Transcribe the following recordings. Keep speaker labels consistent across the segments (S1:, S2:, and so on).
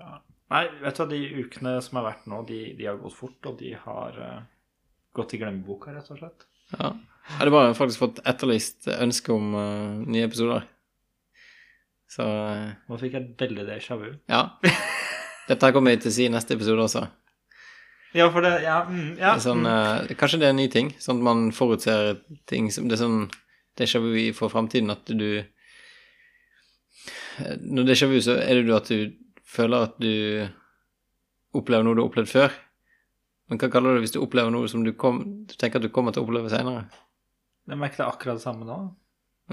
S1: Ja. Nei, vet du hva, de ukene som har vært nå, de, de har gått fort, og de har eh, gått i glemmeboka, rett og slett.
S2: ja. Jeg hadde bare faktisk fått etterlyst ønske om eh, nye episoder. Så eh,
S1: Nå fikk jeg veldig déjà vu.
S2: ja. Dette her kommer jeg til å si i neste episode også.
S1: Ja, for det Ja. Mm, ja
S2: Det er sånn,
S1: mm.
S2: eh, kanskje det er en ny ting, sånn at man forutser ting som Det er sånn déjà vu i- for framtiden at du eh, Når déjà vu, så er det jo at du føler at du opplever noe du har opplevd før. Men hva kaller du det hvis du opplever noe som du, kom, du tenker at du kommer til å oppleve seinere?
S1: Jeg merket akkurat det samme nå.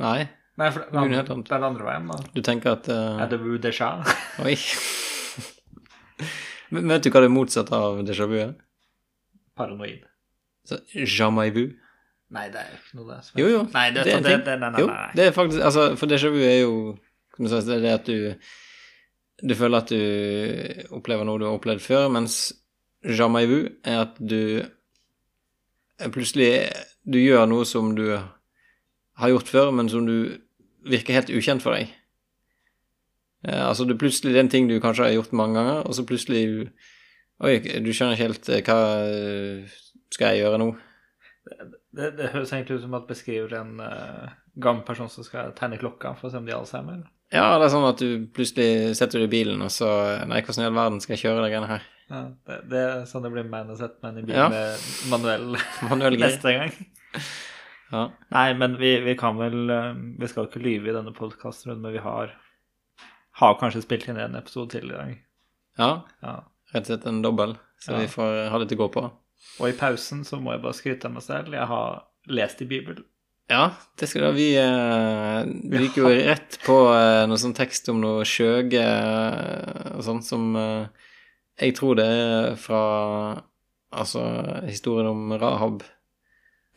S2: Nei,
S1: Nei, for det, er
S2: Noe
S1: andre-
S2: helt annet.
S1: det er den andre veien, da.
S2: du tenker at eh,
S1: Er det vu déjà?
S2: Oi. Men Vet du hva det motsatte av déjà vu er?
S1: Paranoid.
S2: Så, Jamais vu.
S1: Nei, det er jo ikke noe det. som er-
S2: Jo, jo.
S1: Nei, det, det,
S2: en
S1: det,
S2: ting.
S1: det, nei, nei,
S2: Jo,
S1: nei, nei.
S2: det er faktisk Altså, for déjà vu er jo Som du sa, det er det at du Du føler at du opplever noe du har opplevd før, mens jamais vu er at du plutselig Du gjør noe som du har gjort før, men som du virker helt ukjent for deg. Eh, altså, du plutselig det er en ting du kanskje har gjort mange ganger, og så plutselig Oi, du skjønner ikke helt eh, Hva eh, skal jeg gjøre nå?
S1: Det, det høres egentlig ut som at beskriver en eh, gammel person som skal tegne klokka for å se om de har Alzheimer.
S2: Ja, det er sånn at du plutselig setter deg i bilen, og så Nei, hvordan i all verden skal jeg kjøre de greiene her?
S1: Ja, det, det er sånn det blir man of set, men i bil
S2: Ja.
S1: med manuell
S2: Manuell greier.
S1: neste gang.
S2: Ja.
S1: Nei, men vi, vi kan vel eh, Vi skal jo ikke lyve i denne podkastrunden, men vi har har kanskje spilt inn en episode til i dag.
S2: ja.
S1: Ja.
S2: Rett og slett en dobbel, så
S1: Ja.
S2: vi får ha litt å gå på.
S1: Og i pausen så må jeg bare skryte av meg selv. Jeg har lest i Bibelen.
S2: Ja, det skal da vi eh, Vi gikk jo rett på eh, noe sånn tekst om noe skjøge eh, og sånt som eh, Jeg tror det er fra Altså historien om Rahab.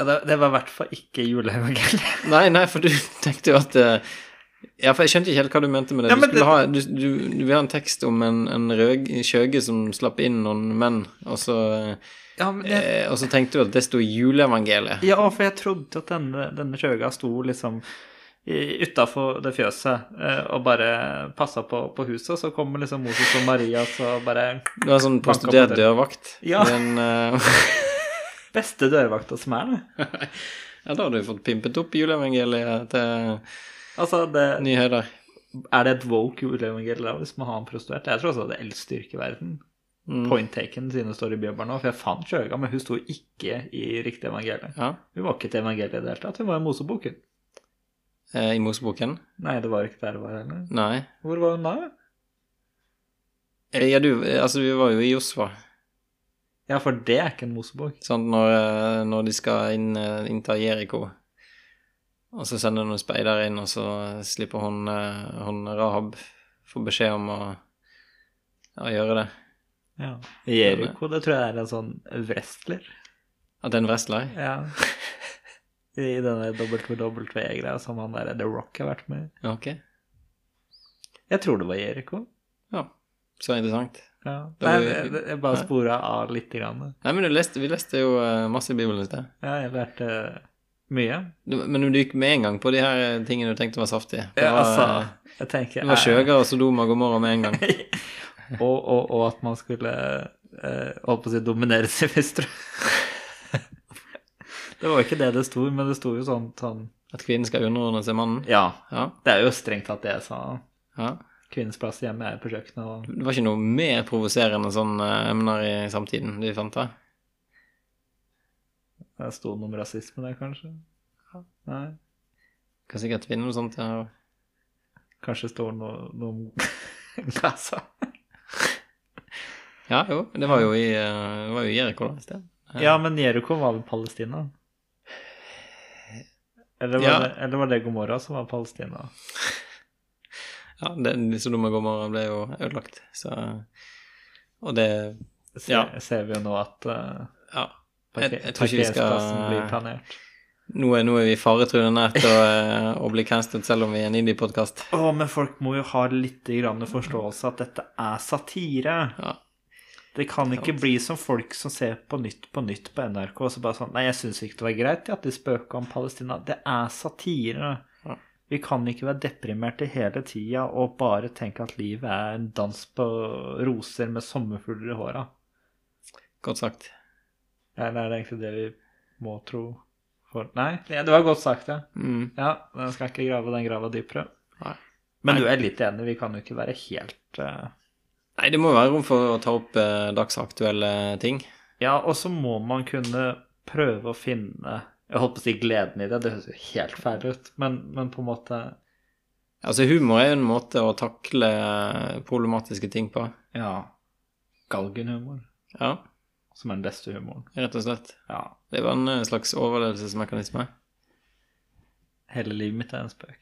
S1: Ja, det, det var i hvert fall ikke juleevangeliet.
S2: Nei, nei, for du tenkte jo at eh, Ja, for jeg skjønte ikke helt hva du mente med det.
S1: Ja,
S2: Du,
S1: men det-
S2: skulle ha, du, du, du vil ha en tekst om en, en røg, skjøge som slapp inn noen menn, og så,
S1: Ja, men jeg,
S2: eh, og så tenkte du at det sto i juleevangeliet.
S1: ja, for jeg trodde at denne, denne skjøga sto liksom utafor det fjøset eh, og bare passa på, på huset. Og så kommer liksom Moses og Maria så bare
S2: Du har en sånn
S1: Banka på
S2: prostituert
S1: døren.
S2: dørvakt.
S1: Ja.
S2: Men, eh,
S1: Beste dørvakta som er, det.
S2: ja, da har du fått pimpet opp juleevangeliet til
S1: Altså, det,
S2: nye høyder.
S1: er det et woke juleevangeliet da, hvis man har en prostituert? Jeg tror altså det er eldste yrket i verden.
S2: Mm.
S1: Point taken siden det står i Bjørnbarn nå, for jeg fant Sjøga, men hun sto ikke i riktig evangeliet.
S2: Ja,
S1: Hun var ikke til evangeliet i det hele tatt, hun var i Moseboken.
S2: eh, I Moseboken?
S1: Nei, det var ikke der hun var heller.
S2: Nei.
S1: Hvor var hun da?
S2: Eh, Ja, du, eh, altså, vi var jo i Josfa,
S1: Ja, for det er ikke en Mosebok.
S2: sånn når, eh, når de skal inn, eh, innta Jeriko. Og så sender noen speidere inn, og så slipper hun, eh, hun Rahab få beskjed om å, å gjøre det.
S1: Ja. Jeriko, det tror jeg er en sånn wrestler.
S2: At det er en wrestler.
S1: Ja. I denne WWE-greia som han der The Rock har vært med i.
S2: Ja, ok.
S1: Jeg tror det var Jeriko.
S2: Ja, så interessant.
S1: Ja.
S2: Da
S1: Nei,
S2: var vi-
S1: jeg, jeg bare
S2: Nei.
S1: spora av litt. Grann.
S2: Nei, men du leste, vi leste jo eh, masse i Bibelen i sted.
S1: Ja, jeg lærte mye.
S2: Du- Men du gikk med en gang på de her eh, tingene du tenkte var saftige. Det
S1: Ja,
S2: var,
S1: altså,
S2: eh,
S1: jeg tenker
S2: det var
S1: eh,
S2: skjøger og Sodoma og Gomorra med en gang.
S1: Og, og, og at man skulle eh, holdt på å si dominere semesteret. det var jo ikke det det sto, men det sto jo sånn, sånn
S2: At kvinnen skal underordne seg mannen.
S1: Ja,
S2: Ja,
S1: det er jo strengt tatt det jeg sa.
S2: ja.
S1: Kvinnens plass hjemme er på kjøkkenet og
S2: Det var ikke noe mer provoserende sånn eh, emner i samtiden de fant da?
S1: Det sto noe om rasisme der, kanskje? Nei.
S2: Kan sikkert finne noe sånt her.
S1: Kanskje det står noe, noe om Gaza?
S2: Ja, jo. Det var jo i eh, det var jo i Jeriko da, i sted. Eh,
S1: Ja, men Jeriko var vel Palestina? Eller var,
S2: Ja.
S1: det, eller var det Gomorra som var Palestina?
S2: ja, den, disse dumme gommerne ble jo ødelagt. Så, og det
S1: Se,
S2: Ja.
S1: Ser vi jo nå at eh,
S2: Ja. Jeg,
S1: parker-
S2: jeg tror ikke vi
S1: parkeringsplassen blir
S2: skal
S1: planert.
S2: nå er, nå er vi i faretruende nært å, eh, å bli cancelled, selv om vi er en indie-podkast.
S1: Å, men folk må jo ha litt grann forståelse at dette er satire.
S2: Ja.
S1: Det kan ikke
S2: Sant.
S1: bli som folk som ser på Nytt på Nytt på NRK og så bare sånn Nei, jeg syns ikke det var greit at de spøka om Palestina. Det er satire.
S2: Ja.
S1: Vi kan ikke være deprimerte hele tida og bare tenke at livet er en dans på roser med sommerfugler i håra.
S2: Godt sagt.
S1: Eller er det egentlig det vi må tro for Nei, ja, det var godt sagt, ja.
S2: Mm.
S1: Ja, jeg skal ikke grave den grava dypere.
S2: Nei.
S1: Men du er litt enig, vi kan jo ikke være helt eh,
S2: Nei, det må være rom for å ta opp eh, dagsaktuelle ting.
S1: Ja, og så må man kunne prøve å finne Jeg holdt på å si gleden i det, det høres jo helt feil ut, men, men på en måte
S2: Altså, humor er jo en måte å takle eh, problematiske ting på.
S1: Ja. Galgenhumor,
S2: Ja,
S1: som er den beste humoren.
S2: rett og slett.
S1: Ja.
S2: Det var en eh, slags overlevelsesmekanisme.
S1: Hele livet mitt er en spøk.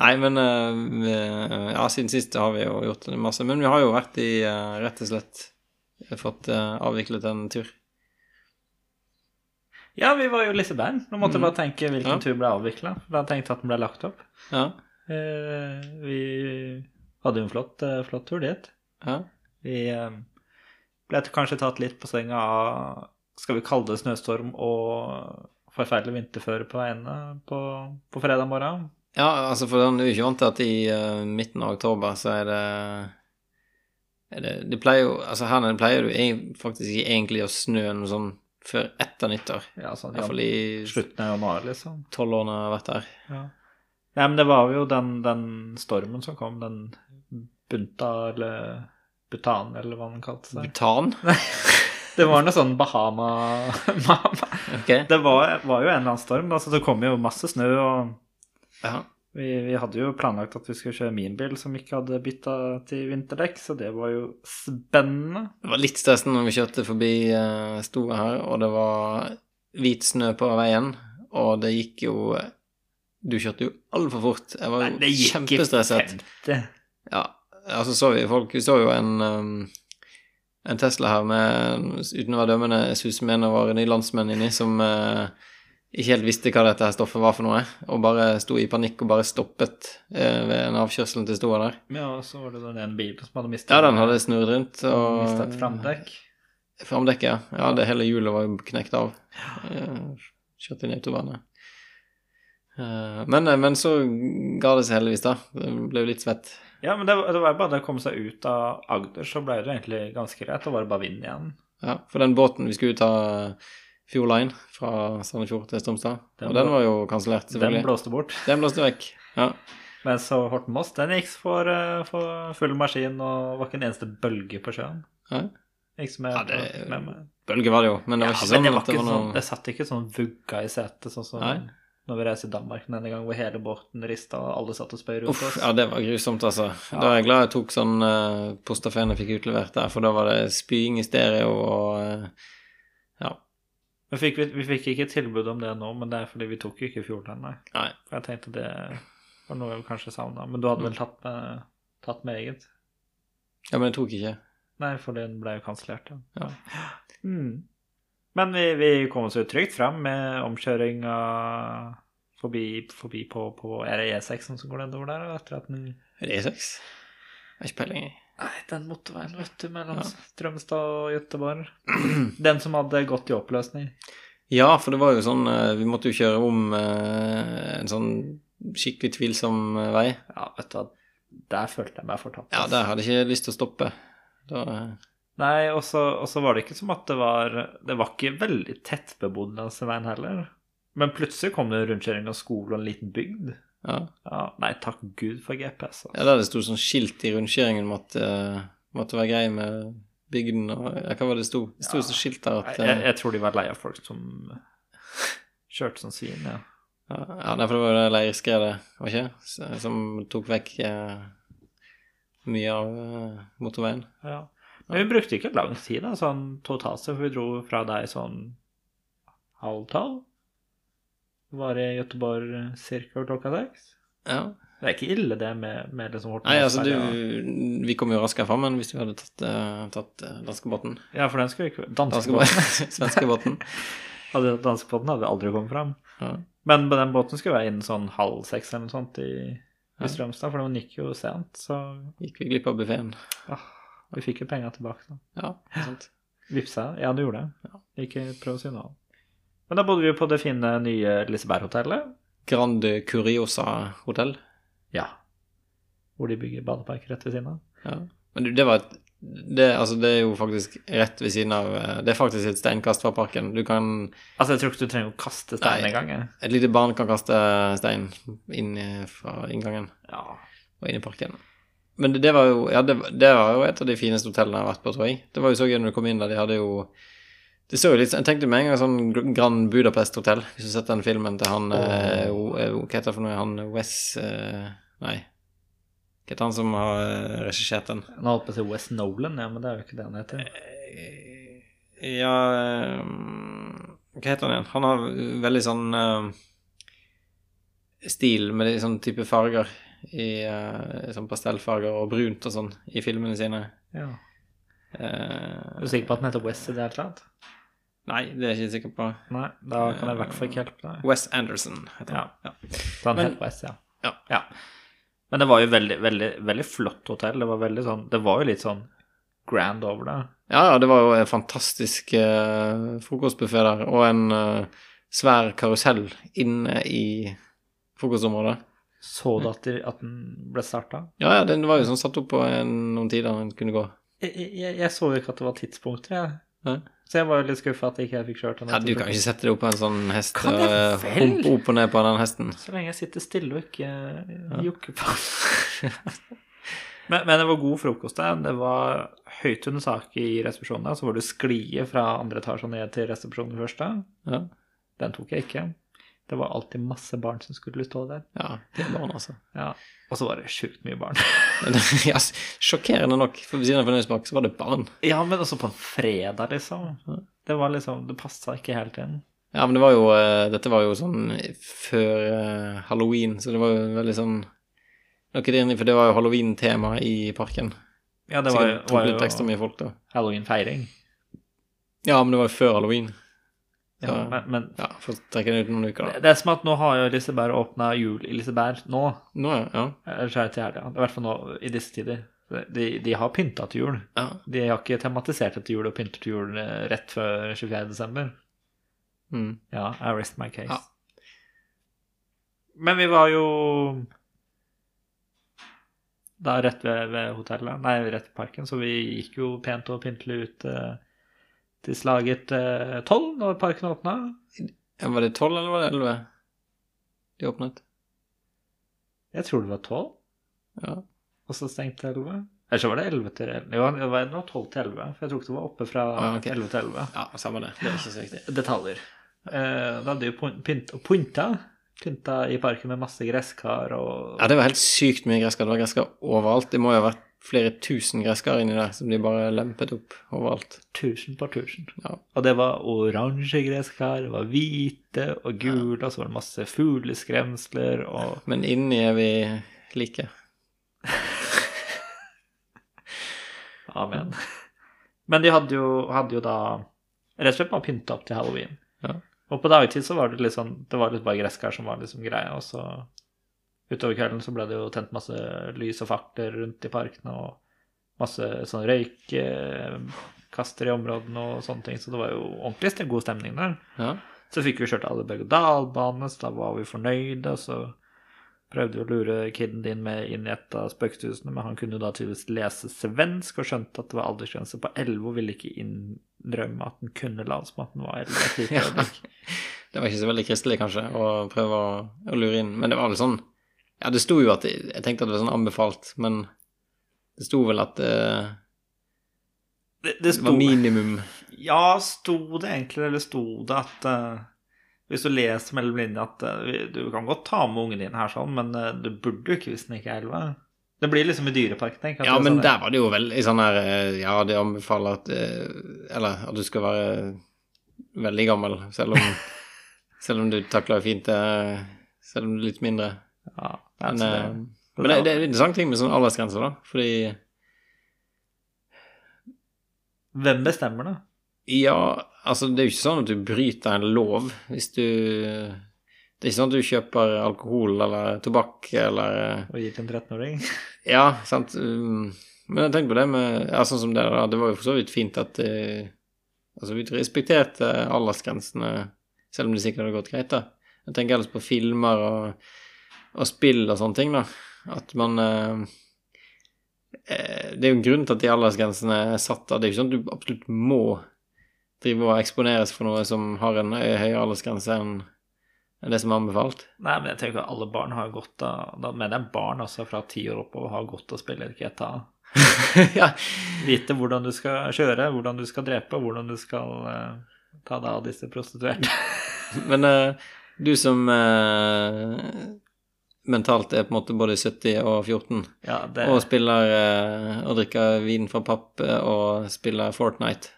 S2: Nei, men eh, vi- ja, siden sist har vi jo gjort masse. Men vi har jo vært i eh, rett og slett fått eh, avviklet en tur.
S1: Ja, vi var jo i Liseberg. Nå måtte jeg
S2: Mm.
S1: bare tenke hvilken
S2: Ja.
S1: tur ble avvikla. Da tenkte jeg at den ble lagt opp.
S2: Ja,
S1: Eh, vi hadde jo en flott, eh, flott tur dit.
S2: ja.
S1: Vi eh, ble etter kanskje tatt litt på senga av skal vi kalle det snøstorm og forferdelig vinterføre på veiene på, på fredag morgen.
S2: ja altså, for den er jo ikke vant til at i eh, midten av oktober så er det er det, det pleier jo, altså her nede pleier det jo egen- faktisk ikke egentlig å snø noe sånn før etter nyttår.
S1: Ja, sånn,
S2: I hvert fall
S1: ja,
S2: i
S1: slutten av januar, liksom.
S2: tolv årene jeg har vært her.
S1: Ja. Nei, men det var jo den, den stormen som kom, den bunta eller butan, eller hva den kalte seg.
S2: Butan?
S1: Det var noe sånn Bahama
S2: Ok.
S1: Det var, var jo en eller annen storm, da, så det kom jo masse snø. og
S2: Ja.
S1: vi, vi hadde jo planlagt at vi skulle kjøre min bil, som ikke hadde bytta til vinterdekk, så det var jo spennende.
S2: Det var litt stressende når vi kjørte forbi uh, Stoa her, og det var hvit snø på veien, og det gikk jo Du kjørte jo altfor fort. Jeg var jo kjempestresset.
S1: 50.
S2: Ja, altså så vi folk Vi så jo en, um, en Tesla her med, uten å være dømmende, jeg synes med en av våre nye landsmenn inni, som eh, ikke helt visste hva dette her stoffet var for noe, og bare sto i panikk og bare stoppet eh, ved en avkjørsel til Stoa der.
S1: Ja, og så var det den ene bilen som hadde mista
S2: Ja, den hadde snurret rundt. Og,
S1: et framdekk.
S2: Framdekket, ja. ja det hele hjulet var jo knekt av. Eh, Kjørt inn i autovernet. Eh, Men, men så ga det seg heldigvis, da. Det ble jo litt svett.
S1: Ja, men det, var- det var jo bare det å komme seg ut av Agder, så ble det jo egentlig ganske greit. Da var det bare vind igjen.
S2: Ja, For den båten vi skulle ut av Fjord Line fra Sandefjord til Strømstad,
S1: Den
S2: og den
S1: blå-
S2: var jo kansellert,
S1: Den
S2: selvfølgelig.
S1: blåste bort.
S2: Den blåste vekk. Ja.
S1: Men så Horten Moss, den gikk for, eh, for full maskin, og var ikke en eneste bølge på sjøen.
S2: Nei.
S1: Ikke som jeg
S2: Ja, det-
S1: med meg.
S2: Bølge var det jo, men det var
S1: ja,
S2: ikke
S1: men
S2: sånn
S1: det var
S2: at det
S1: ikke
S2: var
S1: sånn,
S2: noe
S1: det satt ikke sånn vugga i setet, sånn som
S2: Nei.
S1: når vi reiser i Danmark den ene gang, hvor hele båten rista, og alle satt og spøy rundt
S2: Uff,
S1: oss.
S2: ja, det var grusomt, altså.
S1: Ja.
S2: Da er jeg glad jeg tok sånn uh, postafen jeg fikk utlevert der, for da var det spying i stereo og eh, Ja.
S1: Vi, fikk, vi, vi fikk ikke tilbud om det nå, men det er fordi vi tok jo ikke Fjordland, nei.
S2: Nei.
S1: For jeg tenkte det var noe jeg kanskje savna. Men du hadde
S2: Mm.
S1: vel tatt med, tatt med eget?
S2: Ja, men jeg tok ikke.
S1: Nei, for den ble jo kansellert. Ja.
S2: Ja.
S1: Mm. Men vi, vi kom oss jo trygt fram med omkjøringa forbi, forbi på, på Er det E6 som går nedover der? og Etter at den
S2: Er det E E6? Jeg har ikke peiling. jeg.
S1: Nei, den motorveien, vet du, mellom
S2: Ja.
S1: Strømstad og Göteborg. Den som hadde gått i oppløsning.
S2: Ja, for det var jo sånn eh, Vi måtte jo kjøre om eh, en sånn skikkelig tvilsom eh, vei.
S1: Ja, vet du hva, der følte jeg meg fortapt.
S2: Ja,
S1: ass.
S2: der hadde jeg ikke lyst til å stoppe. Da, eh,
S1: Nei, og så og så var det ikke som at det var Det var ikke veldig tettbebodd langs den veien heller. Men plutselig kom det en rundkjøring av skole og en liten bygd.
S2: ja.
S1: Ja, Nei, takk Gud for GPS. ass.
S2: ja, der det sto sånn skilt i rundkjøringen om at eh, måtte være grei med bygden og ja, Hva var det det sto? Det sto
S1: Ja.
S2: sånn skilt der at
S1: jeg, jeg,
S2: eh,
S1: jeg tror de var lei av folk som kjørte som svin, ja.
S2: Ja, eh, ja nei, for det var jo det leirskredet, var ikke det? S- Som tok vekk eh, mye av eh, motorveien.
S1: Ja. Men vi brukte ikke lang tid, da, sånn totalt, sett, for vi dro fra deg sånn halv tolv. Var i Göteborg ca. klokka seks.
S2: Ja.
S1: Det er ikke ille, det med, med liksom Horten
S2: Nei, altså,
S1: Moss her,
S2: du Vi kom jo raskere fram enn hvis du hadde tatt, eh, tatt eh, danskebåten.
S1: ja. Ja, for den skulle ikke Danskebåten
S2: Danskebåten. Svenskebåten.
S1: hadde, danskebåten hadde aldri kommet fram.
S2: Ja.
S1: Men på den båten skulle være innen sånn halv seks eller noe sånt i,
S2: Ja.
S1: i Strømstad, for den gikk jo sent, så
S2: Gikk vi glipp av buffeen.
S1: ah, vi fikk jo penger tilbake. da.
S2: Ja, ikke sant.
S1: Vipsa? Ja, du gjorde det. Ikke prøv å si noe annet. Men da bodde vi jo på det fine nye Liseberghotellet.
S2: Grande Curiosa hotell.
S1: Ja. Hvor de bygger badepark rett ved siden av.
S2: Ja. Men du, det var et det, altså, det er jo faktisk rett ved siden av eh, Det er faktisk et steinkast fra parken. Du kan
S1: Altså, jeg tror ikke du trenger å kaste stein
S2: Nei.
S1: engang. jeg.
S2: Et lite barn kan kaste stein inn eh, fra inngangen
S1: Ja.
S2: og inn i parken. Men det, det var jo ja, det, var- det var jo et av de fineste hotellene jeg har vært på, tror jeg. Det var jo så gøy når du kom inn der, de hadde jo det så jo litt, Jeg tenkte med en gang sånn Gr- Grand Budapest Hotel, hvis du har sett den filmen til han eh, o- eh, Hva heter det for noe? Han Wes eh, Nei. Hva heter han som har eh, regissert den?
S1: Nå holdt jeg på å si West Nolan, ja, men det er jo ikke det han heter.
S2: Eh, Ja eh, Hva heter han igjen? Han har veldig sånn eh, stil med litt sånn type farger. I eh, sånn pastellfarger og brunt og sånn i filmene sine.
S1: Ja. Er
S2: Eh,
S1: du sikker på at den heter West i det hele tatt?
S2: nei, det er jeg ikke sikker på.
S1: Nei, da kan jeg i hvert fall ikke hjelpe deg.
S2: Wes Anderson heter han. Ja.
S1: Så han
S2: Men-
S1: het West, ja.
S2: Ja.
S1: Men det var jo veldig, veldig, veldig flott hotell. Det var, veldig sånn, det var jo litt sånn grand over det.
S2: Ja, ja, det var jo en fantastisk uh, frokostbuffé der, og en eh, svær karusell inne i frokostområdet.
S1: Så du at, de- at den ble starta?
S2: Ja, ja, den var jo sånn satt opp på en, noen tider den kunne gå.
S1: Jeg, jeg, jeg så jo ikke at det var tidspunkter, jeg.
S2: Hæ?
S1: Så jeg var jo litt skuffa at ikke jeg fikk kjørt den.
S2: Ja, du kan ikke sette deg opp på en sånn hest
S1: Kan
S2: og
S1: jeg
S2: eh,
S1: vel?
S2: humpe opp og ned på den hesten.
S1: Så lenge jeg sitter stille og ikke eh, jokker på. men, men det var god frokost der. Det var høyt under taket i resepsjonen. der, Så var det sklie fra andre etasje og ned til resepsjonen først. da.
S2: Ja,
S1: Den tok jeg ikke. Det var alltid masse barn som skulle stå der.
S2: ja det er barn, altså.
S1: Ja. Og så var det sjukt mye barn.
S2: ja, s- sjokkerende nok, for ved siden av fornøyelsespark så var det barn.
S1: ja, men også på en fredag, liksom. Det var liksom, det passa ikke helt inn.
S2: Ja, men det var jo, eh, dette var jo sånn før eh, halloween, så det var jo veldig sånn noe der inne, for det var jo halloween-tema i parken.
S1: Ja, det
S2: Det
S1: var,
S2: var,
S1: jo-
S2: tok
S1: var
S2: litt ekstra
S1: jo
S2: mye folk da.
S1: halloween-feiring.
S2: Ja, men det var jo før halloween. Så,
S1: Ja, men, men
S2: ja, for å trekke den ut noen uker
S1: det,
S2: da.
S1: det er som at nå har jo Liseberg åpna jul i Liseberg nå.
S2: Nå, ja. ja.
S1: Eller så er det til helga. I hvert fall nå i disse tider. De, de har pynta til jul.
S2: ja.
S1: De har ikke tematisert etter jul og pyntet til jul eh, rett før 24.12.
S2: Mm.
S1: Ja, I rest my case.
S2: Ja.
S1: Men vi var jo da rett ved, ved hotellet, nei, rett ved parken, så vi gikk jo pent og pyntelig ut eh, til slaget eh, tolv når parken åpna.
S2: Ja, Var det 12 eller var det 11? De åpnet.
S1: Jeg tror det var tolv.
S2: Ja.
S1: Og så stengte 11. Eller så var det 11 til 11. Jo, det var det var 12 til 11, for jeg tror ikke det var oppe fra
S2: Ah, ok.
S1: 11 til 11.
S2: Ja, samme det. Det er ikke så viktig.
S1: Detaljer. Eh, da hadde vi pyn- pynt, og pynta. Pynta i parken med masse gresskar og
S2: Ja, det var helt sykt mye gresskar. Det var gresskar overalt. Det må jo ha vært flere tusen gresskar inni der som de bare lempet opp overalt.
S1: tusen på tusen.
S2: Ja.
S1: Og det var oransje gresskar, det var hvite og gule, og så var det masse fugleskremsler og
S2: Men inni er vi like.
S1: Amen. Men de hadde jo, hadde jo da rett og slett bare pynta opp til halloween.
S2: Ja.
S1: Og på dagtid så var det litt sånn Det var litt bare gresskar som var liksom greia, og så utover kvelden så ble det jo tent masse lys og fakler rundt i parkene og masse sånn røykkaster i områdene og sånne ting, så det var jo ordentlig st- god stemning der.
S2: Ja.
S1: Så fikk vi kjørt alle berg-og-dal-banene, så da var vi fornøyde. og Så prøvde vi å lure kiden din med inn i et av spøkelsene, men han kunne jo da tydeligvis lese svensk og skjønte at det var aldersgrense på 11 og ville ikke innrømme at han kunne la som at han var 11. et lite
S2: Ja.
S1: øyeblikk.
S2: Det var ikke så veldig kristelig, kanskje, å prøve å, å lure inn. Men det var vel sånn Ja, det sto jo at Jeg tenkte at det var sånn anbefalt, men det sto vel at eh,
S1: Det, det
S2: det
S1: sto,
S2: var minimum.
S1: Ja, sto det egentlig, eller sto det at eh, Hvis du leser mellom linjene at eh, vi- du kan godt ta med ungen din her, sånn, men eh, du burde jo ikke hvis den ikke er 11. Det blir liksom i Dyreparken. tenk, at
S2: Ja,
S1: det er
S2: men
S1: sånn-
S2: der var det jo veldig sånn her eh, Ja, det anbefaler at eh, Eller at du skal være veldig gammel, selv om Selv om du takler fint eh, Selv om du er litt mindre.
S1: Ja,
S2: Men,
S1: sånn så
S2: eh, men det, det er en interessant ting med sånn aldersgrense, da. Fordi
S1: Hvem bestemmer det?
S2: Ja, altså det er jo ikke sånn at du bryter en lov hvis du Det er ikke sånn at du kjøper alkohol eller tobakk eller eh,
S1: Å gi til en 13-åring?
S2: Ja, sant. um, Men jeg tenkte på det med ja, Sånn som det, da. Det var jo for så vidt fint at eh, Altså, vi respekterte aldersgrensene, selv om det sikkert hadde gått greit, da. Jeg tenker ellers på filmer og, og spill og sånne ting, da. At man eh, eh, Det er jo en grunn til at de aldersgrensene er satt, da. Det er jo ikke sånn at du absolutt må drive og eksponeres for noe som har en høy- høyere aldersgrense enn enn det som er anbefalt.
S1: Nei, men jeg tenker at alle barn har godt av Da mener jeg barn altså fra ti år oppover har godt av å spille GTA.
S2: ja.
S1: Vite hvordan du skal kjøre, hvordan du skal drepe, hvordan du skal eh, ta deg av disse prostituerte.
S2: Men eh, du som eh, mentalt er på en måte både 70 og 14,
S1: Ja, det,
S2: og spiller eh, og drikker vin fra papp eh, og spiller Fortnite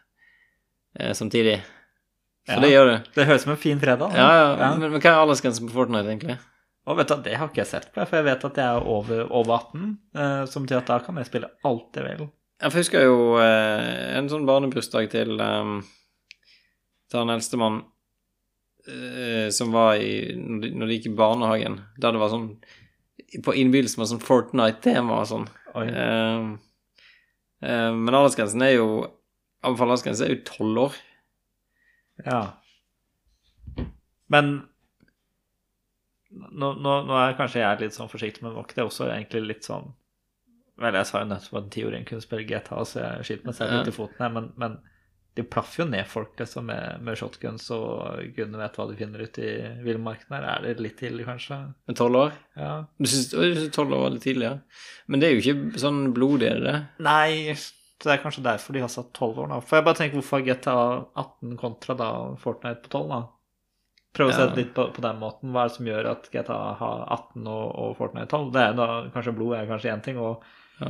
S2: eh, samtidig. For
S1: Ja.
S2: det gjør du.
S1: det høres ut som en fin fredag. da.
S2: Ja, ja.
S1: Ja.
S2: Men, men hva er aldersgrensen på Fortnite, egentlig?
S1: Og vet du, hva, det har ikke jeg sett på, for jeg vet at jeg er over, over 18, eh, som betyr at da kan jeg spille alt jeg vil.
S2: Jeg husker jo eh, en sånn barnebursdag til um, til han eldstemann eh, som var i når de, når de gikk i barnehagen, der det var sånn på innbydelsen var sånn Fortnite-tema og sånn.
S1: Oi.
S2: Eh, eh, men aldersgrensen er jo Iallfall aldersgrensen er jo tolv år.
S1: Ja. Men nå, nå, nå er kanskje jeg litt sånn forsiktig, men var ikke det også egentlig litt sånn Vel, jeg sa jo nettopp at en tiåring kunne spille GTA, så jeg skyter meg selv litt i foten her, men, men de plaff jo ned folk liksom, med, med shotguns og gudene vet hva de finner ute i villmarken her. Er det litt tidlig, kanskje?
S2: Men 12 år?
S1: Ja.
S2: Du syns oi, du syns 12 år var litt tidlig, ja. Men det er jo ikke sånn blodig, er det det?
S1: Nei, så det er kanskje derfor de har satt 12 år, da. For jeg bare tenker hvorfor er GTA 18 kontra da Fortnite på 12, da? Prøv å se
S2: Ja.
S1: det litt på, på den måten. Hva er det som gjør at GTA har 18 og, og Fortnite 12? Det er da kanskje blod er kanskje én ting, og
S2: Ja.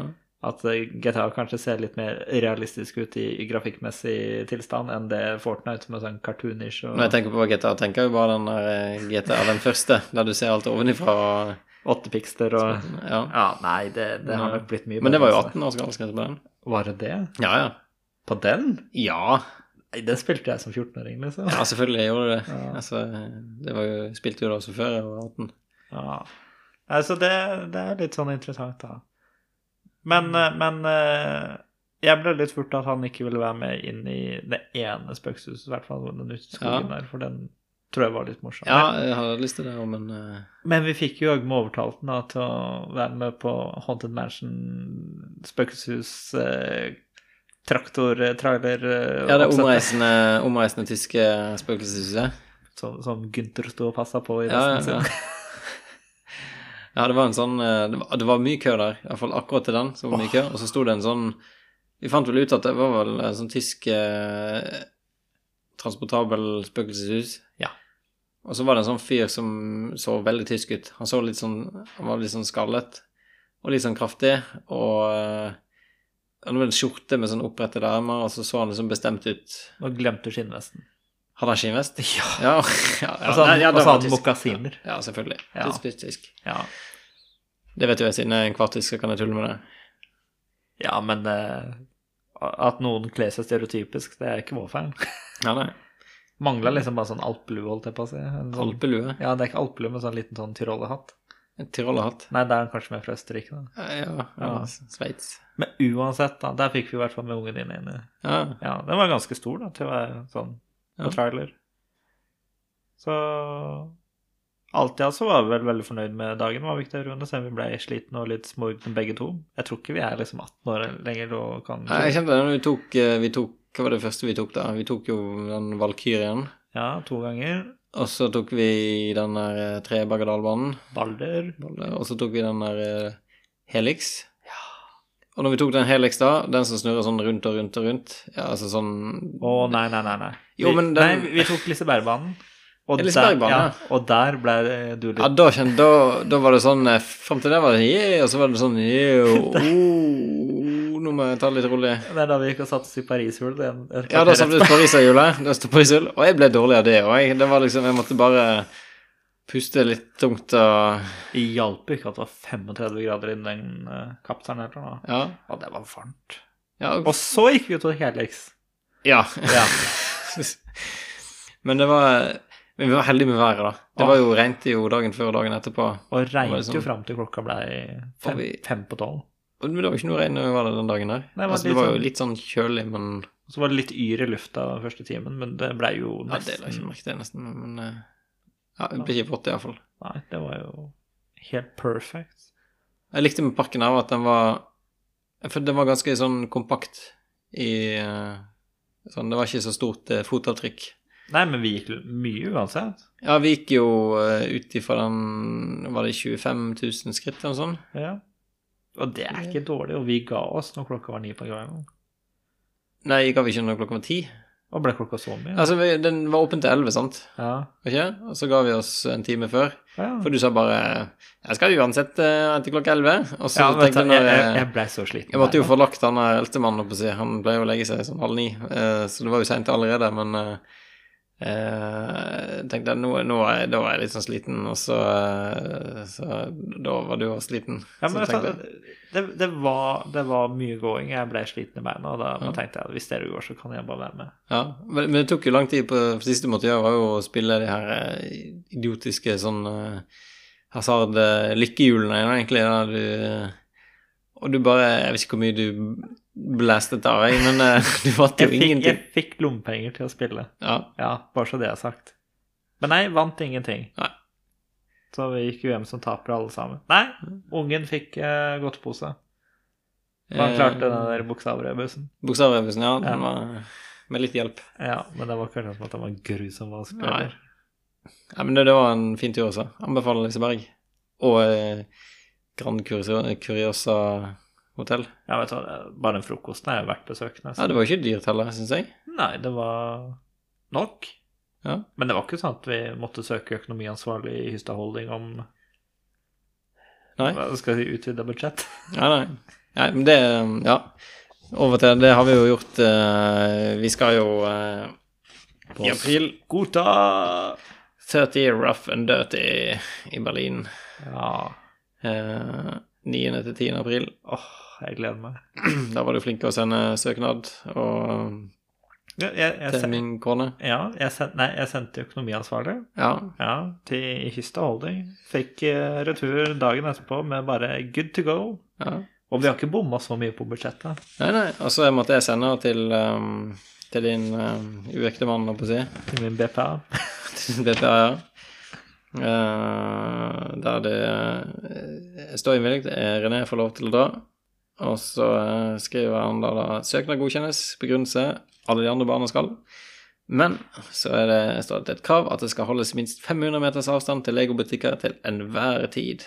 S1: at eh, GTA kanskje ser litt mer realistisk ut i, i grafikkmessig tilstand enn det Fortnite som er sånn cartoonish
S2: Når jeg
S1: og
S2: tenker på GTA, tenker jeg jo bare den der eh, GTA, den første, der du ser alt ovenifra og
S1: åtte piksler og
S2: Ja.
S1: Ja, nei, det, det har
S2: Nei.
S1: nok blitt mye
S2: Men det var jo
S1: bedre, altså.
S2: 18 års aldersgrense på den.
S1: Var det det?
S2: Ja, ja.
S1: På den?
S2: Ja,
S1: Nei, den spilte jeg som 14-åring, liksom.
S2: ja selvfølgelig gjorde det det.
S1: Ja.
S2: Altså, det var jo, spilte jo det også før jeg var 18.
S1: Ja. Altså, det, det er litt sånn interessant, da. Men,
S2: Mm.
S1: eh, men eh, jeg ble litt furt at han ikke ville være med inn i det ene spøkelseshuset, i hvert fall den ute i skogen der, for den tror jeg var litt morsom.
S2: Ja, jeg hadde lyst til det, også, men eh,
S1: Men vi fikk jo Øgme overtalt den da, til å være med på Haunted Mansion, spøkelseshus, eh, traktor, eh, trailer eh,
S2: Ja, det
S1: oppsettet,
S2: omreisende, omreisende tyske spøkelseshuset.
S1: Som, som Gunther sto og passa på i
S2: Ja, ja,
S1: resten sin.
S2: ja. ja, det var en sånn eh, Det var, det var mye kø der, iallfall akkurat til den. Så var det mye kø, og så sto det en sånn Vi fant vel ut at det var vel en sånn tysk eh, transportabel spøkelseshus.
S1: Ja.
S2: Og så var det en sånn fyr som så veldig tysk ut. Han så litt sånn Han var litt sånn skallet og litt sånn kraftig. Og eh, han hadde en skjorte med sånn opprettede ermer, og så så han liksom bestemt ut.
S1: Nå glemte du skinnvesten.
S2: Hadde han skinnvest?
S1: Ja.
S2: Ja, ja, ja.
S1: Og så
S2: Nei, ja,
S1: hadde
S2: det var
S1: han
S2: tysk.
S1: mokasiner.
S2: Ja, selvfølgelig.
S1: Ja.
S2: Tysk, tysk, tysk.
S1: Ja.
S2: Det vet jo jeg, siden jeg er en kvartisk, så kan jeg tulle med det.
S1: Ja, men eh, at noen kler seg stereotypisk, det er ikke vår feil.
S2: Ja, nei.
S1: Mangla liksom bare sånn alpelue, holdt jeg på å si. En sånn,
S2: Alpelue.
S1: Ja, det er ikke alpelue, men sånn liten sånn tyrollerhatt.
S2: En Tyrollerhatt.
S1: Nei, det er den kanskje mer fra Østerrike, da.
S2: Ja, ja, ja.
S1: Ja.
S2: Sveits.
S1: Men uansett, da. Der fikk vi i hvert fall med ungen din inn i.
S2: Ja.
S1: Ja, den var ganske stor, da, til å være sånn på
S2: Ja.
S1: trailer. Så Alt i alt så var vi vel veldig fornøyd med dagen, var vi ikke det, Rune? Selv om vi ble slitne og litt småultne begge to. Jeg tror ikke vi er liksom 18 år lenger og kan
S2: Nei, Jeg kjente det når vi tok, eh, vi tok Hva var det første vi tok, da? Vi tok jo den Valkyrien.
S1: Ja, to ganger.
S2: Og så tok vi den der eh, Trebergerdalbanen.
S1: Balder.
S2: Og så tok vi den der eh, Helix. Og når vi tok den Helix, da, den som snurrer sånn rundt og rundt og rundt Ja, altså sånn
S1: Å, nei, nei, nei. nei.
S2: Jo,
S1: Vi-
S2: men den-
S1: Nei, vi tok Lisebergbanen. Og,
S2: Lisebergbanen,
S1: der-
S2: ja.
S1: og der ble det- du litt
S2: Ja, da, kjente, da, da var det sånn eh, Frem til det var det yeah, og så var det sånn yeah, oh, Nå må jeg ta det litt rolig.
S1: Det er da vi gikk og satte oss i Parishul. det er en- et
S2: Ja, da
S1: kvarter
S2: satt vi ut Pariserhjulet. Da sto Pariserhjul, og jeg ble dårlig av det òg. Det var liksom Jeg måtte bare puste litt tungt og
S1: Det hjalp ikke at det var 35 grader innen den eh, kapselen her. tror jeg.
S2: Ja.
S1: Og det var varmt.
S2: Ja.
S1: Og så gikk vi ut og kjærleiks.
S2: ja.
S1: Ja.
S2: Men det var men Vi var heldige med været, da. Det
S1: Ja.
S2: var jo regnet jo dagen før og dagen etterpå.
S1: Og regnet
S2: Det var
S1: jo
S2: liksom-
S1: fram til klokka ble
S2: Og
S1: fem,
S2: vi-
S1: fem på tolv.
S2: Og det var jo ikke noe regn når vi var der den dagen der.
S1: Nei, det var
S2: altså, det
S1: litt
S2: var jo
S1: sånn-
S2: litt sånn kjølig, men
S1: Og Så var det litt yr i lufta den første timen, men det ble
S2: ja,
S1: jo
S2: Det la jeg ikke
S1: nesten
S2: merke til, nesten. Men eh, ja, det ble ikke vått, iallfall.
S1: Nei, det var jo helt perfect.
S2: Jeg likte med parken her at den var For den var ganske sånn kompakt i eh, sånn, Det var ikke så stort eh, fotavtrykk.
S1: Nei, men vi gikk mye uansett.
S2: Ja, vi gikk jo eh, ut ifra den Var det 25 000 skritt eller noe sånt?
S1: Ja. Og det er ikke dårlig, og vi ga oss når klokka var ni på kvelden.
S2: Nei, jeg ga vi ikke når klokka var ti?
S1: Og ble klokka så mye?
S2: Altså, vi, den var åpen til elleve, sant?
S1: Ja.
S2: Var ikke? det? Og så ga vi oss en time før.
S1: Ja.
S2: For du sa bare 'Jeg skal uansett eh, etter klokka elleve'. Og så
S1: ja, men
S2: tenkte jeg
S1: jeg,
S2: når
S1: jeg,
S2: jeg,
S1: jeg ble så sliten.
S2: Jeg måtte jo
S1: der,
S2: få lagt han her eldstemannen opp og si. Han ble jo å legge seg sånn halv ni, eh, så det var jo seint allerede, men eh, eh, tenkte jeg, nå, nå er jeg, da var jeg litt sånn sliten, og så, eh, så Da var du også sliten.
S1: Ja, men
S2: så
S1: vet du,
S2: jeg,
S1: det, det, var, det var mye gåing. Jeg ble sliten i beina, og da
S2: Ja.
S1: da tenkte jeg at hvis dere går, så kan jeg bare være med.
S2: ja. Men, men det tok jo lang tid. på Det siste du måtte gjøre, var jo å spille de her eh, idiotiske sånn eh, hasard-lykkehjulene, egentlig, der du eh, Og du bare Jeg vet ikke hvor mye du blastet av, jeg, men eh, du vant jo
S1: Jeg fikk, jeg
S2: ingenting.
S1: fikk lommepenger til å spille.
S2: Ja.
S1: Ja, bare så det er sagt. Men nei, vant ingenting.
S2: Nei.
S1: Så vi gikk jo hjem som tapere alle sammen. Nei,
S2: Mm.
S1: ungen fikk eh, godtepose.
S2: Eh.
S1: Han klarte den der bokstavbrødbussen.
S2: Bokstavrevusen, ja. Den
S1: Ja.
S2: var med litt hjelp.
S1: Ja, men det var kanskje som at det var grusomt vanskelig.
S2: Nei.
S1: eller?
S2: Ja, men det, det var en fin tur også. Anbefaler Liseberg. Og eh, Grand Curio- Curiosa hotell.
S1: Ja, vet du hva, det- bare den frokosten er jo verdt besøk. nesten.
S2: Ja, det var jo ikke dyrt heller, syns jeg.
S1: Nei, det var nok.
S2: Ja.
S1: Men det var ikke sånn at vi måtte søke økonomiansvarlig i Hystad Holding om
S2: Nei.
S1: hva skal jeg si, utvida budsjett.
S2: Nei, nei. nei men det eh, Ja. Over til Det har vi jo gjort. Eh, vi skal jo eh, i april
S1: Godta!
S2: 30 Rough and Dirty i Berlin.
S1: Ja.
S2: Eh, 9. til 10. april.
S1: Åh, jeg gleder meg.
S2: Da var du flink til å sende søknad og
S1: Ja, jeg, jeg,
S2: til
S1: sen-
S2: min kone.
S1: ja, jeg, sen- nei, jeg sendte økonomiansvarlig
S2: Ja,
S1: ja, til Hystad Holding. Fikk eh, retur dagen etterpå med bare good to go.
S2: ja.
S1: Og vi har ikke bomma så mye på budsjettet.
S2: Nei, nei, og så måtte jeg sende den til, ehm, til din um, uekte mann, holdt jeg på
S1: Til min BPA.
S2: å si. Til BPA, ja. Eh, der det eh, står innvilget. eh, René får lov til å dra. Og så eh, skriver han da, da søknad godkjennes, begrunnelse, alle de andre barna skal. Men så er det, står det et krav at det skal holdes minst 500 meters avstand til legobutikker til enhver tid.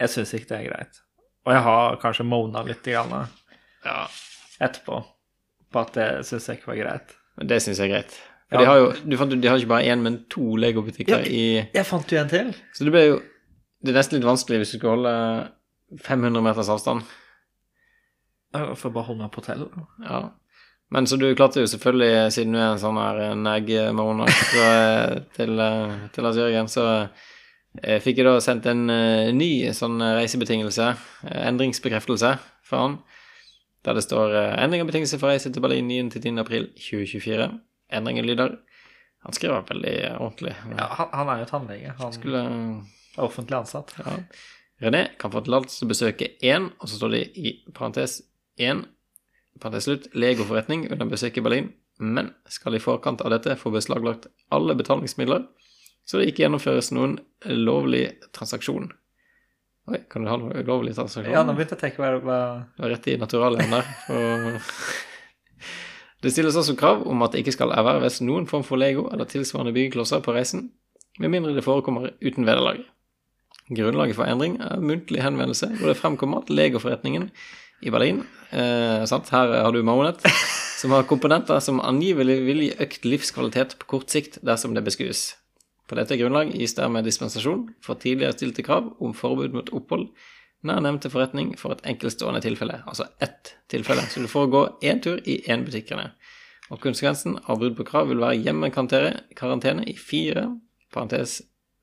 S1: Jeg syns ikke det er greit. Og jeg har kanskje mona litt grann,
S2: Ja,
S1: etterpå på at det syns jeg ikke var greit.
S2: men det syns jeg er greit. For
S1: Ja.
S2: de har jo, du fant ut de har ikke bare én, men to legobutikker
S1: Ja.
S2: i
S1: Jeg fant jo en til.
S2: Så det ble jo Det er nesten litt vanskelig hvis du skal holde 500 meters avstand.
S1: Jeg får bare holde meg på hotellet.
S2: Ja. Men så du klarte jo selvfølgelig, siden du er en sånn her eh, neg-monak så, eh, til, eh, til Lars Jørgen, så eh, fikk jeg da sendt en eh, ny sånn eh, reisebetingelse, eh, endringsbekreftelse, for han. Der det står eh, 'Endring av betingelse for reise til Berlin 9. til 10. april 2024'. Endringen lyder Han skriver veldig ordentlig.
S1: Ja, han, han er jo tannlege. Han
S2: Skulle
S1: er offentlig ansatt.
S2: Ja. René kan få tillatelse til å besøke én, og så står det i parentes én, parentes slutt, legoforretning under besøket i Berlin, men skal i forkant av dette få beslaglagt alle betalingsmidler, så det ikke gjennomføres noen lovlig transaksjon. Oi, kan du ha noe ulovlig transaksjon?
S1: Ja, nå begynte jeg å tenke hva, hva
S2: Det var rett i naturalien der. Og... Det stilles også krav om at det ikke skal erverves noen form for Lego eller tilsvarende byggeklosser på reisen, med mindre det forekommer uten vederlag. Grunnlaget for endring er muntlig henvendelse, hvor det fremkommer at Lego-forretningen i Berlin eh, sant? Her har du Mahonet, som har komponenter som angivelig vil gi økt livskvalitet på kort sikt dersom det beskues. På dette grunnlag gis dermed dispensasjon for tidligere stilte krav om forbud mot opphold nær nevnte forretning for et enkeltstående tilfelle. Altså ett tilfelle. Så du får gå én tur i én butikkene. Og konsekvensen av brudd på krav vil være hjemmekarantene i fire, parentes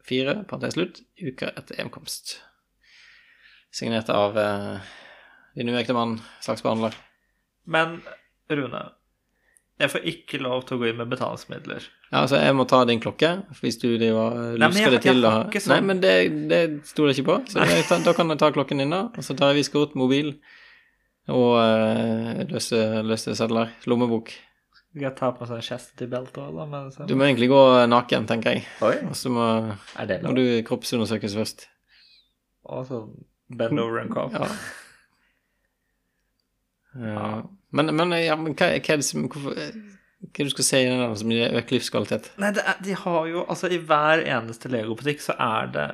S2: fire, parentes slutt, uker etter hjemkomst. Signert av eh, din uekte mann, saksbehandler.
S1: Men Rune, jeg får ikke lov til å gå inn med betalingsmidler.
S2: Ja, altså, jeg må ta din klokke, hvis du driver eh,
S1: Nei, men
S2: lusker det
S1: jeg-
S2: til
S1: jeg
S2: å
S1: har
S2: ha-
S1: ikke sånn.
S2: Nei, men det, det stoler jeg ikke på, så jeg, tar- da kan jeg ta klokken din, da. Og så tar jeg viskort, mobil og eh, løse, løse sedler. Lommebok.
S1: Skal jeg ta på meg sånn chastity belt òg, da? Men så...
S2: Du må egentlig gå naken, tenker jeg.
S1: Oi,
S2: Og så må,
S1: er det
S2: må
S1: lov?
S2: du kroppsundersøkes først.
S1: Og sånn bend over and cough.
S2: Ja. Eh, Men, men, ja, men hva, hva er det som hvorfor, eh, Hva er det du skal se i den der som gir økt livskvalitet?
S1: Nei, det er, de har jo Altså, i hver eneste legobutikk så er det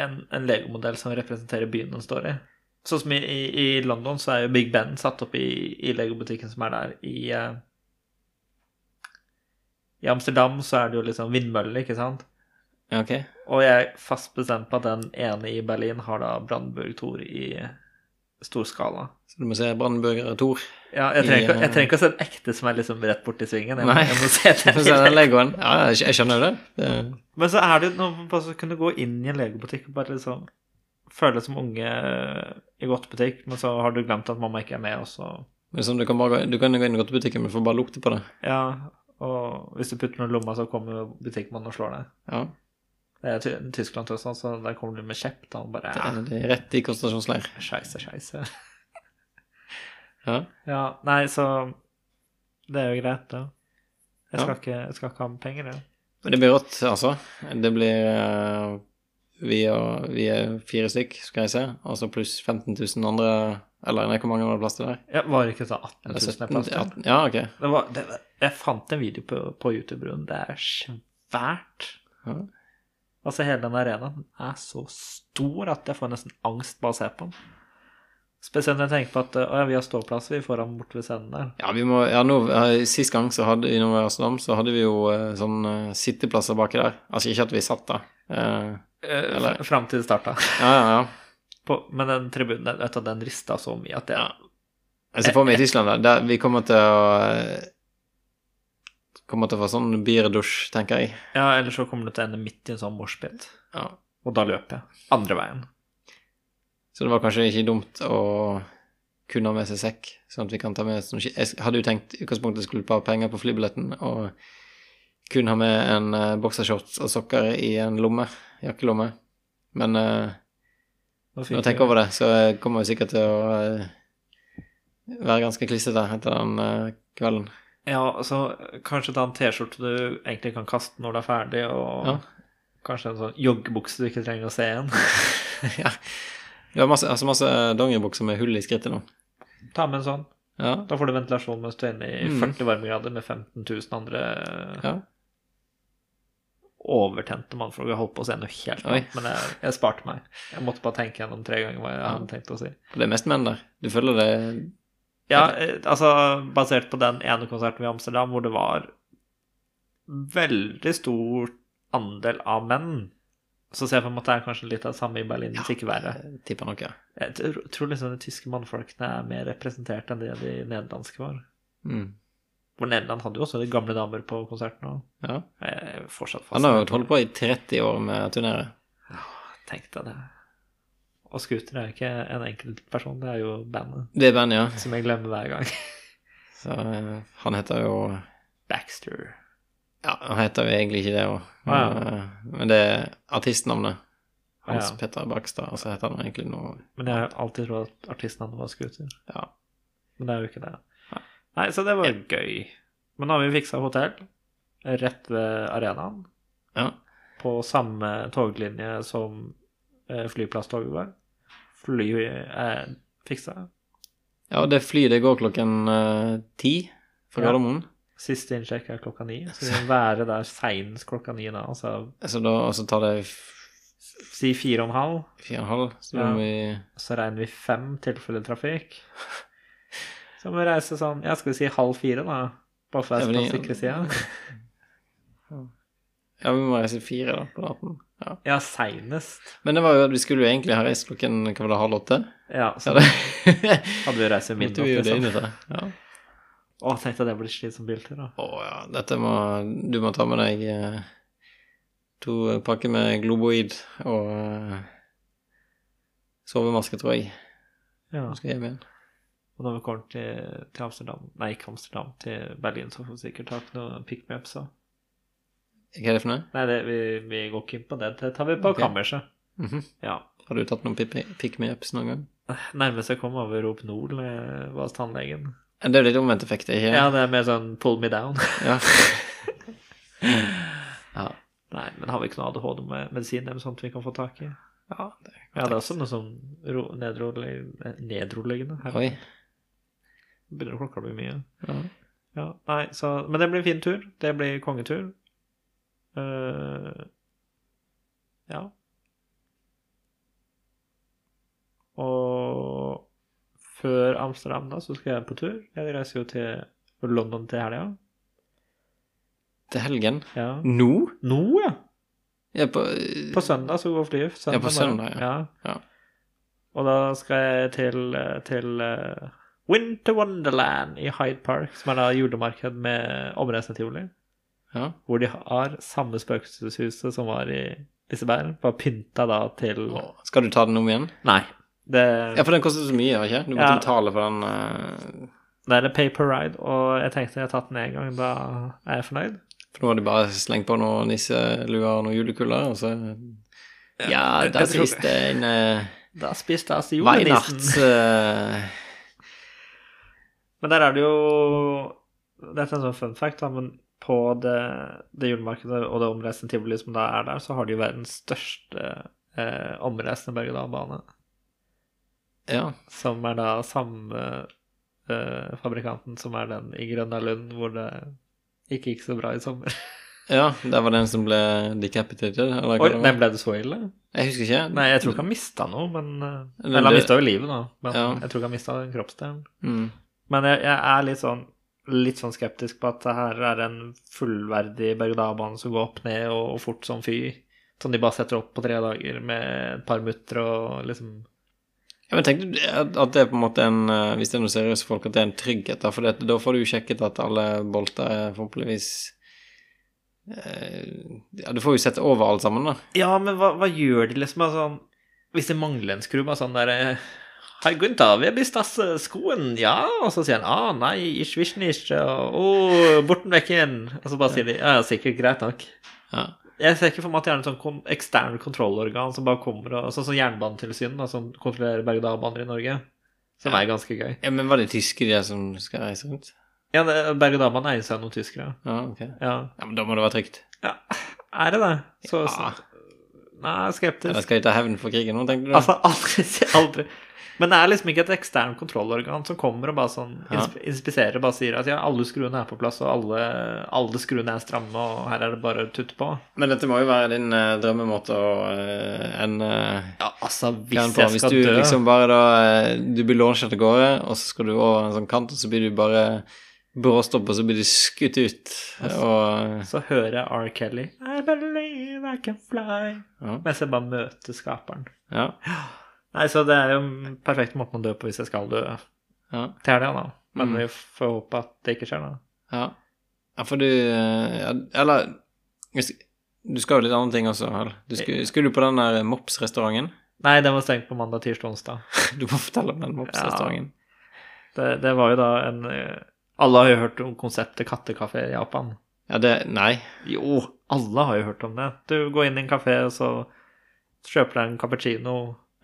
S1: en, en legomodell som representerer byen den står i. Sånn som i, i, i London, så er jo Big Ben satt opp i, i legobutikken som er der. I, eh, I Amsterdam så er det jo liksom vindmøller, ikke sant?
S2: Ja, ok?
S1: Og jeg er fast bestemt på at den ene i Berlin har da Brandenburg Tor i stor skala.
S2: Så du må se Brandenburger Tor.
S1: Ja, jeg trenger,
S2: I,
S1: ikke,
S2: eh,
S1: jeg trenger ikke å se en ekte som er liksom rett borti svingen. Jeg, må-
S2: Nei.
S1: jeg må se
S2: Du får se
S1: den.
S2: den Legoen. Ja, jeg skj- jeg skjønner jo det. det.
S1: Men så er det jo noe med bare å kunne gå inn i en legobutikk og bare liksom føle deg som unge eh, i godt butikk, men så har du glemt at mamma ikke er med, og så
S2: Men sånn, du, kan bare, gå- du kan gå inn i godtebutikken, men du får bare lukte på det.
S1: Ja, og hvis du putter noe i lomma, så kommer jo butikkmannen og slår deg.
S2: Ja,
S1: Det er Ty- Tyskland og sånn, så der kommer du med kjepp, da, og bare
S2: det
S1: ja,
S2: er, det er rett i konsentrasjonsleir.
S1: Scheisse, scheisse.
S2: Ja.
S1: Ja, nei, så Det er jo greit, da. Jeg skal, ikke, jeg skal ikke ha med penger, jeg.
S2: Men det blir rått, altså. Det blir eh, vi, og, vi er fire stykk, skal jeg se. Og så pluss 15 000 andre Eller nei, hvor mange var det plass til der?
S1: Jeg var ikke sånn 18
S2: Eller
S1: 000 jeg
S2: 17
S1: plass til.
S2: 18? Ja, ok.
S1: Det var, det, var- jeg fant en video på, på YouTube, Rune. Det er svært.
S2: Ja.
S1: Altså, hele den arenaen er så stor at jeg får nesten angst bare av å se på den. Spesielt når jeg tenker på at å, ja, vi har ståplass vi foran borte ved scenen der.
S2: Ja, vi må, ja nå, eh, Sist gang så hadde, når vi var i Amsterdam, så hadde vi jo eh, sånn eh, sitteplasser baki der. Altså ikke at vi satt der. Eh, Eller-
S1: Eller fram til det starta.
S2: ja, ja, ja.
S1: På- Men den tribunen den, vet du, den rista så mye at jeg
S2: Ja. Jeg ser for meg i Tyskland, da. Der vi kommer til å eh, Kommer til å få sånn bierdusj, tenker jeg.
S1: Ja, ellers så kommer du til å ende midt i en sånn moshpit.
S2: Ja.
S1: Og da løper jeg. Andre veien.
S2: Så det var kanskje ikke dumt å kunne ha med seg sekk, sånn at vi kan ta med sånn ski- Jeg hadde jo tenkt i utgangspunktet skulle bare ha penger på flybilletten og kun ha med en eh, boksershorts og sokker i en lomme, jakkelomme. Men eh,
S1: fikk
S2: Når jeg
S1: jeg-
S2: tenker over det, så eh, kommer jeg sikkert til å eh, være ganske klissete etter den eh, kvelden.
S1: Ja, altså, kanskje ta en T-skjorte du egentlig kan kaste når du er ferdig, og
S2: Ja.
S1: kanskje en sånn joggebukse du ikke trenger å se igjen.
S2: ja. Du har masse, altså masse eh, dongeribukser med hull i skrittet nå.
S1: Ta med en sånn.
S2: Ja.
S1: Da får du ventilasjon mens du er inne i
S2: Mm.
S1: 40 varmegrader med 15 000 andre
S2: ja.
S1: overtente mannfolk. Jeg holdt på å si noe helt
S2: Oi.
S1: annet, men jeg, jeg sparte meg. Jeg måtte bare tenke gjennom tre ganger hva jeg
S2: Ja.
S1: hadde tenkt å si.
S2: Og Det er mest menn der. Du føler det
S1: Ja, eh, altså, basert på den ene konserten i Amsterdam hvor det var veldig stor andel av menn, så ser jeg på en måte det er kanskje litt av det samme i Berlin, hvis ikke verre.
S2: Jeg tipper nok, ja.
S1: Jeg tr- tror liksom de tyske mannfolkene er mer representert enn det de nederlandske var.
S2: Mm.
S1: For Nederland hadde jo også de gamle damer på konserten òg.
S2: ja.
S1: Jeg er fortsatt fast.
S2: Han har jo holdt på i 30 år med å turnere.
S1: Tenk deg det. Og Scooter er jo ikke en enkeltperson, det er jo bandet.
S2: Det er bandet, ja.
S1: Som jeg glemmer hver gang.
S2: Så eh, han heter jo
S1: Baxter.
S2: Ja, han heter jo egentlig ikke det òg,
S1: Ah,
S2: men, eh, men det er artistnavnet. Hans
S1: Ja.
S2: Petter Bakstad, og så heter han egentlig noe
S1: Men jeg har alltid trodd at artistnavnet var Scooter.
S2: Ja.
S1: Men det er jo ikke det.
S2: Nei.
S1: Nei, så det var gøy. Men nå har vi fiksa hotell rett ved arenaen.
S2: ja.
S1: På samme toglinje som eh, flyplasstoget var. eh, Flyet er fiksa.
S2: Ja, det flyet det går klokken eh, ti fra
S1: Ja.
S2: Gardermoen.
S1: Siste innsjekk er klokka ni. Så vi må være der seinest klokka ni da. Altså
S2: Så da, og så tar det f-
S1: si fire og en halv.
S2: fire og en halv, så
S1: Ja.
S2: må vi
S1: Så regner vi fem tilfeller trafikk. Så må vi reise sånn Ja, skal vi si halv fire, da? Bare for å være på den
S2: Ja, men-
S1: sikre sida.
S2: Ja, vi må reise fire da, på natten. Ja.
S1: Ja, seinest.
S2: Men det var jo at vi skulle jo egentlig ha reist klokken hva var det, halv åtte.
S1: Ja,
S2: Ja,
S1: så
S2: det
S1: hadde vi reist i
S2: måtte vi jo
S1: midnatt,
S2: døgnet
S1: liksom.
S2: til. Ja.
S1: Å, tenkte jeg det ble slitsom biltur, da.
S2: Å ja, dette må du må ta med deg eh, To pakker med globoid og eh, sovemaske, tror jeg.
S1: Ja.
S2: Nå skal jeg hjem igjen.
S1: Og når vi kommer til, til Amsterdam Nei, ikke Amsterdam, til Berlin, så får vi sikkert tak i noen pick-me-ups. også.
S2: Hva er det for noe?
S1: Nei, det, vi, vi går ikke inn på det. Det tar vi på
S2: Ok.
S1: kammerset.
S2: Mhm.
S1: Ja.
S2: Har du tatt noen pick- pick-me-ups noen gang?
S1: Nærmest jeg kom, var ved Rop Nord eh, var hos tannlegen.
S2: Det er jo litt omvendt effekt, ikke
S1: Ja, det er mer sånn pull me down.
S2: Ja.
S1: Ja. Nei, men har vi ikke noe ADHD-medisin eller sånt vi kan få tak i?
S2: ja.
S1: Ja, det er også noe sånn ro nedrolig- nedroligende. Her
S2: Oi.
S1: begynner klokka å bli mye.
S2: Ja.
S1: Ja, nei, så, men det blir en fin tur. Det blir kongetur. Eh, ja. Og før Amsterdam, da, så skal jeg på tur. Jeg reiser jo til London til helga.
S2: Til helgen.
S1: Ja.
S2: Nå?
S1: Nå, ja!
S2: Ja, på,
S1: På søndag så går flyet.
S2: Ja, på søndag,
S1: morgen.
S2: ja. Ja.
S1: Og da skal jeg til, til eh, Winter Wonderland i Hyde Park, som er da julemarked med omreisende tivoli.
S2: Ja.
S1: Hvor de har samme spøkelseshuset som var i Liseberg, bare pynta da til
S2: Å, Skal du ta den om igjen?
S1: Nei. Det,
S2: Ja, for den koster så mye, har ikke? Du måtte
S1: Ja.
S2: betale for den eh,
S1: det er en paper ride, og jeg tenkte jeg har tatt den én gang, da er jeg fornøyd.
S2: For nå har de bare slengt på noen nisseluer og noen julekuler, og så Ja,
S1: jeg-
S2: der
S1: jeg tror-
S2: siste en eh,
S1: Da spiste jeg altså julenissen.
S2: Weinarts eh,
S1: Men der er det jo Dette er en sånn fun fact, da, men på det, det julemarkedet og det omreisende tivoli som da er der, så har de jo verdens største eh, omreisende berg-og-dal-bane.
S2: Ja.
S1: Som er da samme eh, fabrikanten som er den i Grønnalund, hvor det ikke gikk så bra i sommer.
S2: ja, der var den som ble decapitated, eller hva
S1: Oi,
S2: det var.
S1: den ble det så ille?
S2: Jeg husker ikke.
S1: Nei, jeg tror ikke han mista noe, men eh,
S2: Eller
S1: Eller han
S2: det-
S1: mista jo livet, da. Men
S2: Ja.
S1: jeg tror ikke han mista kroppsdelen.
S2: Mm.
S1: Men jeg, jeg er litt sånn, litt sånn skeptisk på at det her er en fullverdig berg-og-dal-bane som går opp ned og, og fort som fy. Som de bare setter opp på tre dager med et par mutter og liksom
S2: Ja, men tenk du at at det er på en måte en eh, Hvis det er noen seriøse folk, at det er en trygghet, da. For det, da får du jo sjekket at alle bolter er forhåpentligvis eh, Ja, du får jo sett over alt sammen, da.
S1: Ja, men hva, hva gjør de liksom? Altså, sånn- hvis de mangler en skrubb av sånn derre Hei, Gunther, vi har mistet eh, skoen, ja? Og så sier han ah, nei, ish, vish, nish, og oh, borten vekk igjen. Og så bare sier de ja, ja, sikkert, greit nok.
S2: Ja.
S1: Jeg ser ikke for meg at det er en sånn kon ekstern kontrollorgan som bare kommer og Sånn som Jernbanetilsynet, da, som kontrollerer berg-og-dal-baner i Norge. Som er ganske gøy.
S2: Ja, men var det tyske de der som skal reise rundt?
S1: Ja, det- Berg-og-dal-banen eies av noen tyskere.
S2: Ja, ok.
S1: Ja.
S2: Ja, men da må det være trygt.
S1: ja. Er det det? Så,
S2: Ja.
S1: så Nei, jeg er skeptisk.
S2: Eller skal de ta hevn for krigen nå, tenker du?
S1: Altså, aldri, aldri. Men det er liksom ikke et ekstern kontrollorgan som kommer og bare sånn
S2: Ja.
S1: insp- inspiserer og bare sier at ja, alle skruene er på plass, og alle, alle skruene er stramme, og her er det bare å tutte på.
S2: Men dette må jo være din eh, drømmemåte å uh, ende
S1: Ja, altså,
S2: kvelden
S1: hvis
S2: på.
S1: jeg
S2: Hvis
S1: skal
S2: du
S1: dø
S2: liksom bare da eh, Du blir launchet av gårde, og så skal du over en sånn kant, og så blir du bare bråstopp, og så blir du skutt ut, og
S1: så hører jeg R. Kelly I believe I can fly
S2: Ja.
S1: mens jeg bare møter skaperen.
S2: ja,
S1: Nei, så det er jo en perfekt måte å dø på hvis jeg skal dø
S2: ja,
S1: til helga, da. Men
S2: Mm.
S1: vi får håpe at det ikke skjer, da.
S2: ja. Ja, for du eh, ja, Eller hvis- Du skal jo litt andre ting også, vel? Du skulle, skulle du på den der eh, Mops-restauranten?
S1: Nei, den var stengt på mandag, tirsdag, onsdag.
S2: Du må fortelle om den Mops-restauranten.
S1: Det, det var jo da en eh, Alle har jo hørt om konseptet kattekafé i Japan.
S2: Ja, det Nei.
S1: Jo, alle har jo hørt om det. Du går inn i en kafé, og så kjøper deg en cappuccino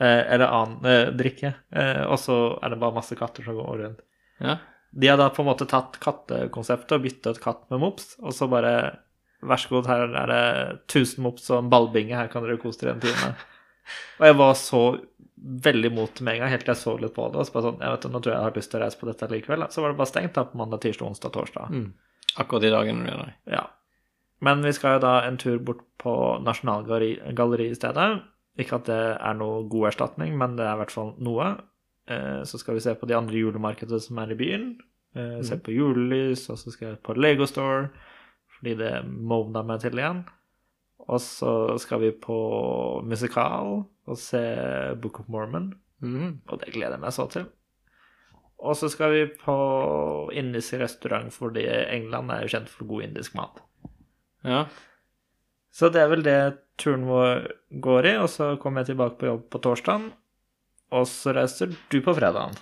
S1: eh, eller annen eh, drikke, eh, og så er det bare masse katter som går rundt.
S2: Ja.
S1: De har da på en måte tatt kattekonseptet og bytta ut katt med mops, og så bare Vær så god, her er det 1000 mops og en ballbinge, her kan dere kose dere en time. Og jeg var så veldig imot det med en gang, helt til jeg så litt på det. Og så bare sånn, jeg vet, du, nå tror jeg jeg har lyst til å reise på dette likevel. da. Så var det bare stengt da på mandag, tirsdag, onsdag, torsdag.
S2: Mm. Akkurat i dagen du er der.
S1: Ja. Men vi skal jo da en tur bort på Nasjonalgalleriet i stedet. Ikke at det er noe god erstatning, men det er i hvert fall noe. Eh, Så skal vi se på de andre julemarkedene som er i byen. Eh, Se
S2: Mhm.
S1: på julelys, og så skal jeg på Lego Store, fordi det movna meg til igjen. Og så skal vi på musikal og se Book of Mormon.
S2: Mhm.
S1: Og det gleder jeg meg så til. Og så skal vi på indisk restaurant, fordi England er jo kjent for god indisk mat.
S2: Ja.
S1: Så det er vel det turen vår går i, og så kommer jeg tilbake på jobb på torsdagen. Og så reiser du på fredagen.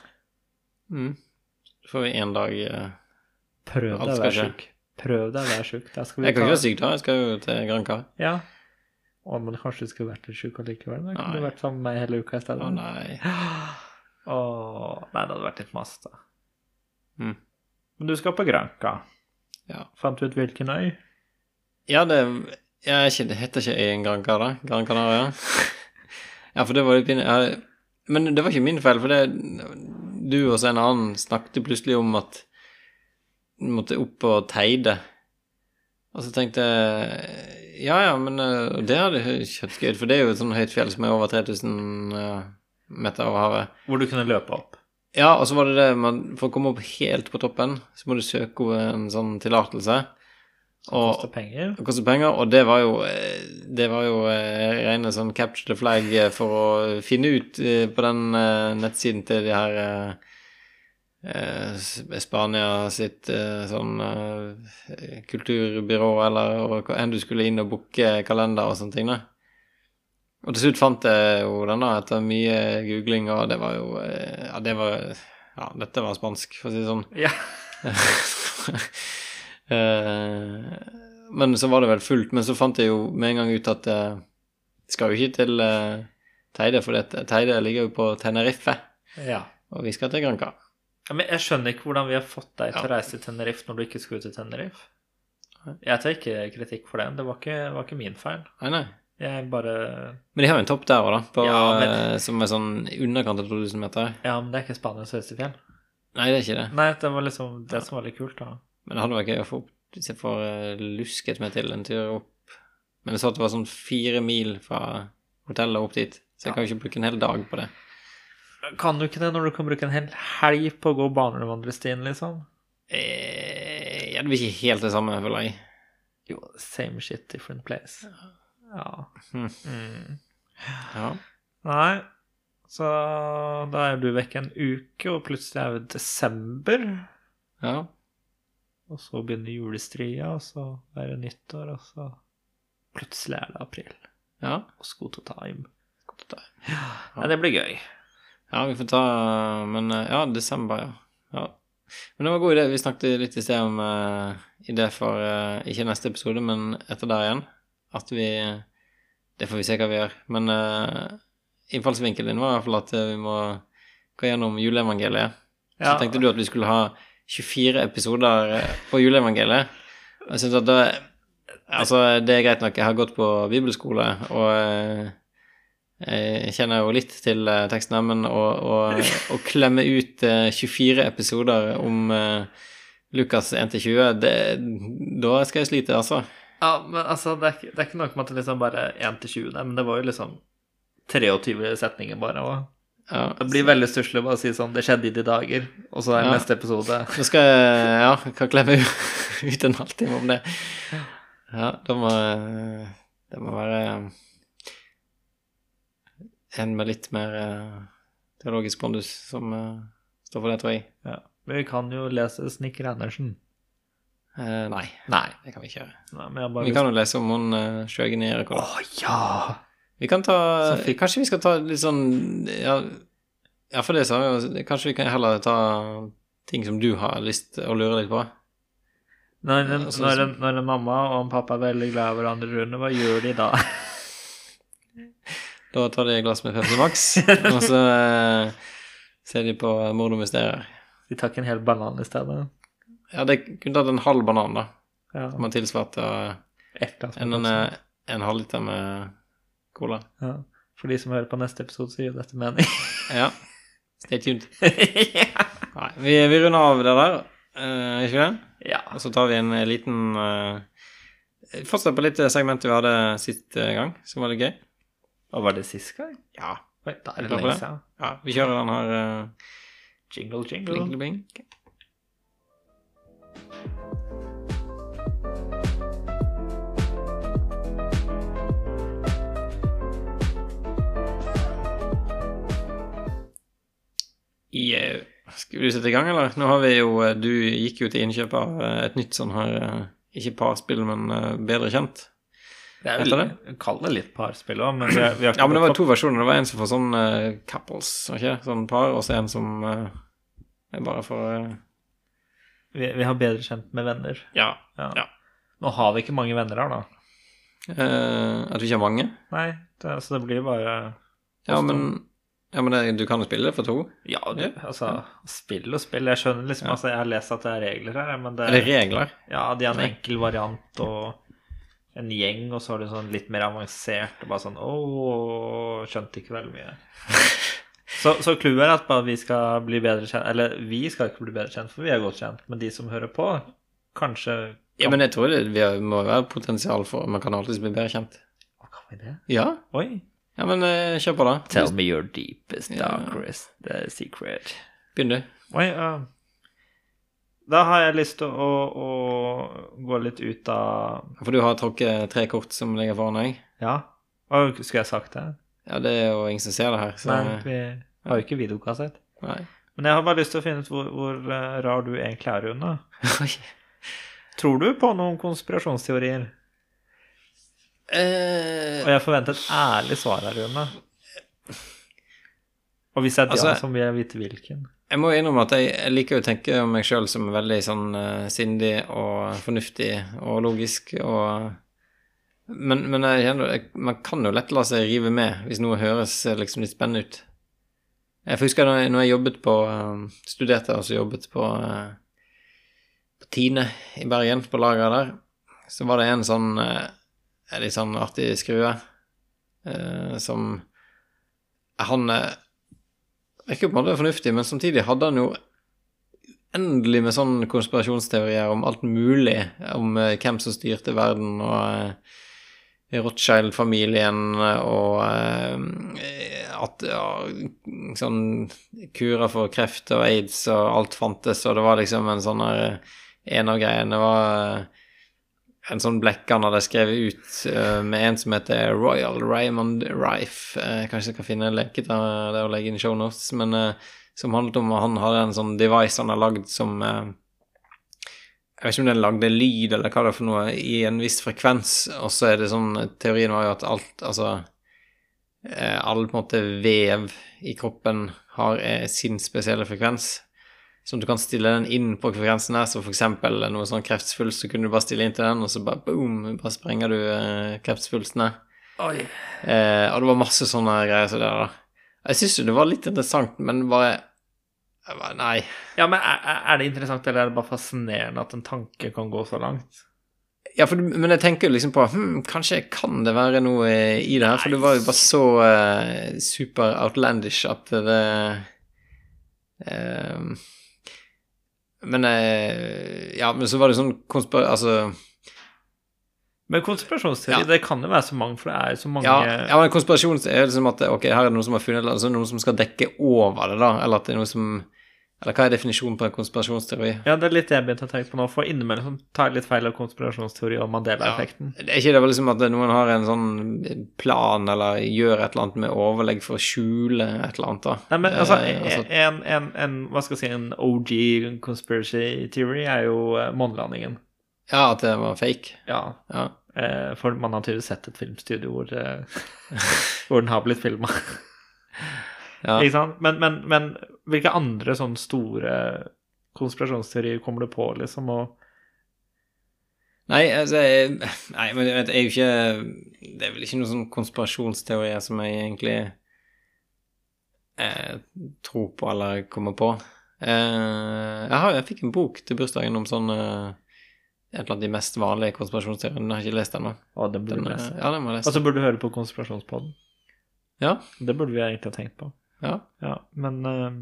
S2: Mm. Så får vi én dag eh,
S1: Prøv deg
S2: Alt
S1: å
S2: skal
S1: være
S2: skje.
S1: sjuk. Prøv deg å være sjuk. Da skal vi
S2: Jeg kan
S1: ta-
S2: ikke være syk da, jeg skal jo til Granca.
S1: Ja. Å, men kanskje du skulle vært litt sjuk allikevel? Da kunne du
S2: Nei.
S1: vært sammen med meg hele uka
S2: Å
S1: i stedet.
S2: nei.
S1: Åh, nei, det hadde vært litt mas, da.
S2: Mm.
S1: Men du skal på Granca.
S2: Ja.
S1: Fant du ut hvilken øy?
S2: Ja, det, ja, jeg er ikke, det heter ikke egen Gran Canaria. Gran Canaria. ja, for det var litt pinlig. Ja, men det var ikke min feil, for det, du og så en annen snakket plutselig om at du måtte opp på Teide. Og så tenkte jeg ja, ja, men eh, det hadde jeg kjøttgøy, for det er jo et sånt høyt fjell som er over 3000 eh, meter over havet.
S1: Hvor du kunne løpe opp.
S2: Ja, og så var det det man, For å komme opp helt på toppen, så må du søke om en sånn tillatelse. Og
S1: Koster penger.
S2: det koster penger, og det var jo eh, Det var jo eh, rene sånn capture the flag eh, for å finne ut eh, på den eh, nettsiden til de her eh, eh, S- Spania sitt eh, sånn eh, kulturbyrå eller og hva enn du skulle inn og booke kalender og sånne ting. da. Og til slutt fant jeg jo den, da, etter mye googling, og det var jo eh, Ja, det var Ja, dette var spansk, for å si det sånn.
S1: Ja.
S2: Eh, men så var det vel fullt. Men så fant jeg jo med en gang ut at eh, jeg skal jo ikke til eh, Teide, for det, Teide ligger jo på Tenerife,
S1: ja.
S2: og vi skal til Granca.
S1: Ja, Men jeg skjønner ikke hvordan vi har fått deg til å reise til Tenerife når du ikke skulle til Tenerife. Jeg tar ikke kritikk for det. Det var ikke, var ikke min feil.
S2: Nei, nei.
S1: Jeg bare
S2: Men de har jo en topp der òg, da, på,
S1: Ja, men-
S2: eh, som er sånn i underkant av 2000 meter.
S1: Ja, men det er ikke Spanias høyeste fjell.
S2: Nei, det er ikke det.
S1: Nei, det var liksom det som var litt kult, da.
S2: Men det hadde vært gøy å få opp hvis jeg får eh, lusket meg til en tur opp. Men jeg så at det var sånn fire mil fra hotellet opp dit, så jeg kan jo ikke bruke en hel dag på det.
S1: Kan du ikke det når du kan bruke en hel helg på å gå barnevandrestien, liksom?
S2: Eh, ja, det blir ikke helt det samme, føler jeg.
S1: Jo, same shit, different place. Ja.
S2: Hmm.
S1: Mm.
S2: Ja.
S1: Nei, så da er du vekk en uke, og plutselig er det desember.
S2: ja.
S1: Og så begynner julestria, og så er det nyttår, og så plutselig er det april.
S2: Ja.
S1: Og skot og time.
S2: godt å ta.
S1: Nei, det blir gøy.
S2: Ja, vi får ta Men eh, ja, desember, ja. ja. Men det var en god idé. Vi snakket litt i sted om eh, idé for eh, ikke neste episode, men etter der igjen. At vi Det får vi se hva vi gjør. Men eh, innfallsvinkelen din var i hvert fall at eh, vi må gå gjennom juleevangeliet. Så
S1: Ja.
S2: tenkte du at vi skulle ha 24 episoder eh, på juleevangeliet. Og Jeg synes at det Altså, det er greit nok. Jeg har gått på bibelskole, og eh, jeg kjenner jo litt til eh, teksten her, men å, å, å klemme ut eh, 24 episoder om eh, Lukas 1-20, det- da skal jeg slite, altså.
S1: ja, men altså, det er, ikke, det er ikke nok med at det liksom bare er 1 til 20 der, men det var jo liksom 23 setninger bare. Og
S2: Ja.
S1: det blir veldig stusslig å bare si sånn Det skjedde i de dager, og så er
S2: Ja.
S1: neste episode
S2: Nå skal jeg ja, jeg kan klemme ut en halvtime om det. Ja, da må eh, Det må være eh, en med litt mer eh, teologisk pondus som eh, står for det, tror jeg.
S1: ja. Men vi kan jo lese Snikker Andersen.
S2: Eh, Nei,
S1: Nei.
S2: det kan vi ikke gjøre.
S1: Nei men jeg bare
S2: Vi kan jo lese om hun eh, Sjøgen i Erikon.
S1: Å ja!
S2: Vi kan ta
S1: Så fikk-
S2: Kanskje vi skal ta litt sånn Ja, ja for det sa vi jo Kanskje vi kan heller ta ting som du har lyst å lure litt på.
S1: Når en,
S2: Ja, sånn
S1: når, en,
S2: som-
S1: når en mamma og en pappa er veldig glad i hverandre, Rune, hva gjør de da?
S2: Da tar de et glass med Pepsi Max, og så eh, ser de på Mord og mysterier.
S1: De tar ikke en hel banan i stedet?
S2: Ja, det kunne tatt en halv banan, da.
S1: Ja.
S2: Som har tilsvart eh,
S1: Et glass med
S2: en, en,
S1: Pepsi.
S2: en halvliter med cola.
S1: Ja. For de som hører på neste episode, så gir dette mening.
S2: Ja. Stay tuned. Nei, vi, vi runder av det der, eh, ikke det?
S1: ja.
S2: Og så tar vi en liten eh, Fortsett på litt eh, segment vi hadde sist eh, gang, som var litt gøy.
S1: Og var det sist gang?
S2: Ja.
S1: Oi, da er
S2: Er du
S1: det
S2: klar for
S1: lenge
S2: det?
S1: siden.
S2: ja vi kjører den her eh,
S1: Jingle, jingle.
S2: bling-bling. Yeah. eh, Skal du sette i gang, eller? Nå har vi jo eh, Du gikk jo til innkjøp av eh, et nytt sånn her eh, Ikke parspill, men eh, bedre kjent.
S1: Det er
S2: Heter
S1: vel, kall det litt parspill òg, men vi har, vi har ikke
S2: Ja, men det var
S1: gått opp-
S2: to versjoner. Det var en som får sånn eh, couples, var ikke det? Sånn par, og så en som eh, er bare for eh,
S1: vi, vi har bedre kjent med venner.
S2: Ja.
S1: Ja.
S2: Ja.
S1: Nå har vi ikke mange venner her, da.
S2: eh, at vi ikke har mange.
S1: Nei, det, så det blir bare
S2: Ja,
S1: Ofte.
S2: men, ja, men det, du kan jo spille det for to.
S1: Ja, du, altså, spill og spill. Jeg skjønner liksom, altså, jeg har lest at det er regler her, men det
S2: Er det regler?
S1: Ja, de har en
S2: Nei.
S1: enkel variant og en gjeng, og så har du sånn litt mer avansert og bare sånn Å, skjønte ikke veldig mye. Så, så clouet er at bare vi skal bli bedre kjent Eller vi skal ikke bli bedre kjent, for vi er godt kjent, men de som hører på, kanskje
S2: Ja, men jeg tror det vi har, må være potensial for Man kan alltids bli bedre kjent.
S1: Å, Kan vi det?
S2: Ja,
S1: Oi.
S2: ja men eh, kjør på, da.
S1: me your deepest,
S2: darkest,
S1: secret.
S2: Begynn, du.
S1: Oi, ja. Da har jeg lyst til å, å gå litt ut av
S2: For du har trukket tre kort som ligger foran deg.
S1: Ja. Å, Skulle jeg sagt det?
S2: Ja, det er jo ingen som ser det her, så
S1: Nei, vi har jo ikke videokassett.
S2: Nei.
S1: Men jeg har bare lyst til å finne ut hvor, hvor eh, rar du egentlig er, Rune. Tror du på noen konspirasjonsteorier? Og
S2: Eh,
S1: jeg forventer et ærlig svar her, Rune. Og hvis det er
S2: Altså-
S1: ja, så vil jeg vite hvilken.
S2: jeg må innrømme at jeg, jeg liker jo å tenke om meg sjøl som veldig sånn eh, sindig og fornuftig og logisk og Men, men jeg, kjenner- jeg, man kan jo lett la seg rive med hvis noe høres eh, liksom litt spennende ut. Jeg husker da jeg, når jeg jobbet på eh, Studerte og så jobbet på, eh, på Tine i Bergen, på lageret der. Så var det en sånn eh, en litt sånn artig skrue eh, som Han eh, virker på en måte fornuftig, men samtidig hadde han jo endelig med sånn konspirasjonsteorier om alt mulig, om eh, hvem som styrte verden, og eh, Rothschild-familien, og eh, at ja, sånn kurer for kreft og aids og alt fantes, og det var liksom en sånn her En av greiene var eh, en sånn blekk han hadde skrevet ut eh, med en som heter Royal Raymond Rife. Eh, kanskje jeg kan finne en lenke til det og legge inn i show notes, men eh, som handlet om at han hadde en sånn device han har lagd som eh, Jeg vet ikke om den lagde lyd eller hva det er for noe, i en viss frekvens, og så er det sånn Teorien var jo at alt, altså eh, All på en måte vev i kroppen har eh, sin spesielle frekvens. Så om du kan stille den inn på frekvensen her, så for eksempel noe sånn kreftsvulst, så kunne du bare stille inn til den, og så bare boom, bare sprenger du eh, kreftsvulsten her.
S1: Oi.
S2: Eh, og det var masse sånne greier som det der, da. Jeg syns jo det var litt interessant, men bare jeg bare, Nei.
S1: Ja, men er, er- er det interessant, eller er det bare fascinerende at en tanke kan gå så langt?
S2: Ja, for, du- men jeg tenker jo liksom på hm, Kanskje kan det være noe eh, i det her? For det var jo bare så eh, super outlandish at det eh, Men eh, Ja, men så var det sånn konspir... Altså
S1: Men konspirasjonsteori,
S2: Ja.
S1: det kan jo være så mange, for det er jo så mange
S2: ja, ja, men konspirasjon er jo liksom at ok, her er det noen som har funnet altså noen som skal dekke over det, da. Eller at det er noe som Eller hva er definisjonen på en konspirasjonsteori?
S1: Ja, det er litt det jeg begynte å tenke på nå, for innimellom så tar jeg litt feil av konspirasjonsteori og Mandela-effekten.
S2: Det er ikke det vel liksom at noen har en sånn plan eller gjør et eller annet med overlegg for å skjule et eller annet, da?
S1: Nei, men altså,
S2: Eh, altså-
S1: en, en, en, hva skal jeg si, en OG conspiracy theory er jo eh, månelandingen.
S2: Ja, at det var fake.
S1: Ja,
S2: Ja.
S1: eh, for man har tydeligvis sett et filmstudio hvor, eh, hvor den har blitt filma.
S2: Ja.
S1: Ikke sant? Men, men, men hvilke andre sånne store konspirasjonsteorier kommer du på, liksom? Og,
S2: Nei, altså jeg, Nei, men det er jo ikke Det er vel ikke noen sånn konspirasjonsteorier som jeg egentlig eh, tror på eller kommer på. Eh, jeg, har, jeg fikk en bok til bursdagen om sånn eh, et eller annet de mest vanlige konspirasjonsteoriene. Den har jeg ikke lest ennå.
S1: og det burde
S2: Den,
S1: du
S2: eh,
S1: lese. Altså-
S2: Ja, den må jeg
S1: Og
S2: lese.
S1: så burde du høre på Konspirasjonspodden.
S2: Ja.
S1: Det burde vi egentlig ha tenkt på.
S2: Ja.
S1: Ja, men eh,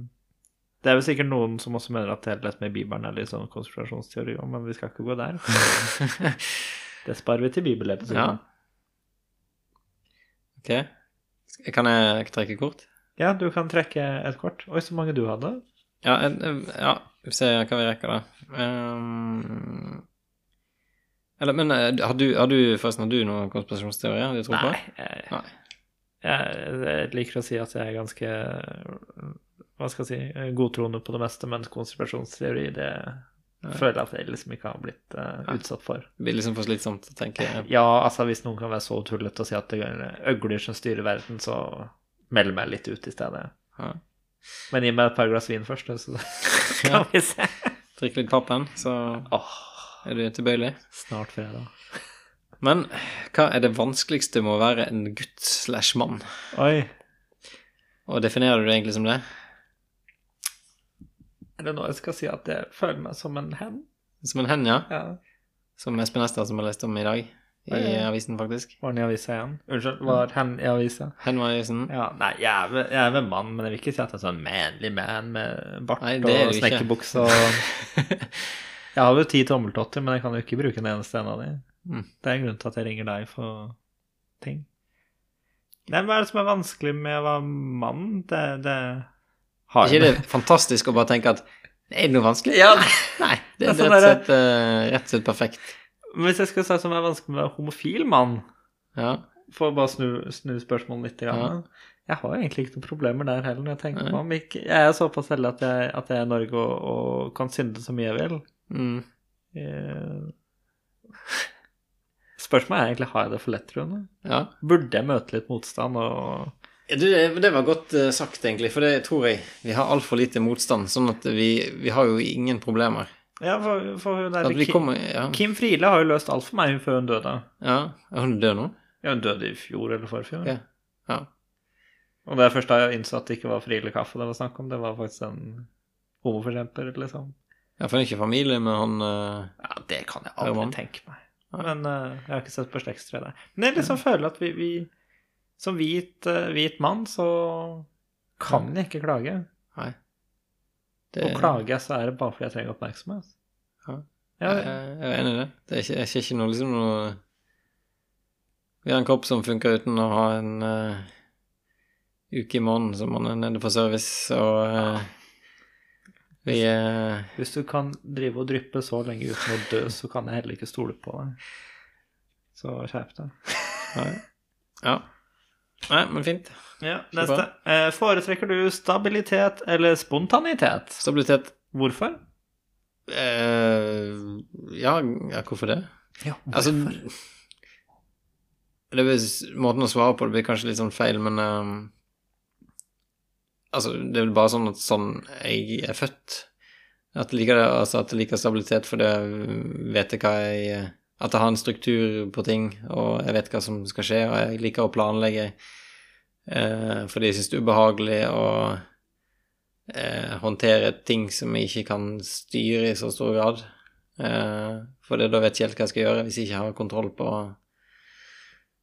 S1: det er vel sikkert noen som også mener at helhet med Bibelen er litt sånn konspirasjonsteori òg, men vi skal ikke gå der. Det sparer vi til
S2: ja.
S1: bibelepisoden.
S2: Ok. Kan jeg trekke kort?
S1: Ja. du kan trekke et kort. Oi, så mange du hadde.
S2: Ja, en- en- ja vi får se hva vi rekker, da. Ehm, eller, men eh, har du, har du, forresten, har du noen konspirasjonsteorier du tror på?
S1: Jeg,
S2: Nei.
S1: Jeg, jeg liker å si at jeg er ganske Hva skal jeg si godtroende på det meste, men konspirasjonsteori, det Føler at jeg liksom ikke har blitt eh, utsatt for.
S2: Det blir liksom for slitsomt å tenke
S1: Ja, altså hvis noen kan være så tullete og si at det er øgler som styrer verden, så meld meg litt ut i stedet.
S2: ja.
S1: Men gi meg et par glass vin først, så
S2: Ja.
S1: kan vi se.
S2: Drikke litt pappen, så
S1: Åh,
S2: er du tilbøyelig.
S1: snart fredag.
S2: Men hva er det vanskeligste med å være en gutt slash mann?
S1: Oi.
S2: Og definerer du det egentlig som det?
S1: Er det nå jeg skal si at jeg føler meg som en hen?
S2: Som en hen, ja?
S1: Ja.
S2: Som Espen Ester, som jeg leste om i dag i
S1: Oi, oi.
S2: avisen, faktisk.
S1: Var den i avisa igjen? Unnskyld, var hen i avisa?
S2: Hen var jo sånn
S1: Ja, nei, jeg er, vel, jeg er vel mann, men jeg vil ikke si at jeg er sånn manly man med bart
S2: Nei, det er
S1: og
S2: du ikke.
S1: snekkerbukse og Jeg har jo ti tommeltotter, men jeg kan jo ikke bruke den eneste en av de.
S2: Mm.
S1: Det er en grunn til at jeg ringer deg for ting. Nei, hva er det som er vanskelig med å være mann? Det, det har
S2: ikke det er fantastisk å bare tenke at er det noe vanskelig?
S1: Ja,
S2: Nei, det
S1: Det er
S2: er
S1: sånn
S2: rett og
S1: der-
S2: slett, eh, rett og slett perfekt.
S1: men hvis jeg skal si hva som er vanskelig med å være homofil mann,
S2: Ja.
S1: for å bare snu, snu spørsmålet litt grann,
S2: Ja.
S1: Jeg har egentlig ikke noen problemer der heller. når Jeg tenker
S2: Nei.
S1: meg om. Ikke- Jeg er såpass heldig at jeg, at jeg er i Norge og, og kan synde så mye jeg vil.
S2: Mm.
S1: Eh, Spørsmålet er egentlig har jeg det for lett, Rune.
S2: ja.
S1: Burde jeg møte litt motstand og
S2: Ja, Du, det det var godt eh, sagt, egentlig, for det tror jeg. Vi har altfor lite motstand, sånn at vi, vi har jo ingen problemer.
S1: Ja, for, for hun der
S2: At vi
S1: Kim,
S2: kommer Ja,
S1: Kim Friele har jo løst alt for meg før hun døde.
S2: ja. er hun død nå?
S1: Ja, hun døde i fjor eller forfjor.
S2: Ja. Ja.
S1: Og det er først da jeg innså at det ikke var Friele kaffe det var snakk om, det var faktisk en homoforkjemper, liksom.
S2: ja for hun er ikke familie med han eh,
S1: Ja, det kan jeg
S2: Herman.
S1: aldri tenke meg.
S2: Nei.
S1: Men eh, jeg har ikke sett på slektstre der. Men jeg liksom føler at vi, vi som hvit, eh, hvit mann, så kan jeg ikke klage.
S2: Nei.
S1: Og klager jeg, så er det bare fordi jeg trenger oppmerksomhet.
S2: Ja.
S1: Ja,
S2: Jeg, jeg er enig i det. Det er ikke, jeg ser ikke noe liksom noe Vi har en kropp som funker uten å ha en eh, uke i måneden som man er nede på service, og eh, vi eh,
S1: Hvis du kan drive og dryppe så lenge uten å dø, så kan jeg heller ikke stole på deg. Så skjerp deg.
S2: Nei. Ja. Nei, men fint.
S1: Ja,
S2: neste.
S1: neste. Eh, foretrekker du stabilitet eller spontanitet?
S2: Stabilitet
S1: Hvorfor?
S2: eh, ja, ja, hvorfor det?
S1: Ja,
S2: Altså det blir, s- Måten å svare på det blir kanskje litt sånn feil, men ehm, Altså, det er vel bare sånn at sånn jeg er født. At jeg liker, det, altså at jeg liker stabilitet fordi jeg vet hva jeg At jeg har en struktur på ting, og jeg vet hva som skal skje, og jeg liker å planlegge eh, fordi jeg syns det er ubehagelig å eh, håndtere ting som jeg ikke kan styre i så stor grad. Eh, for det, da vet jeg ikke helt hva jeg skal gjøre hvis jeg ikke har kontroll på,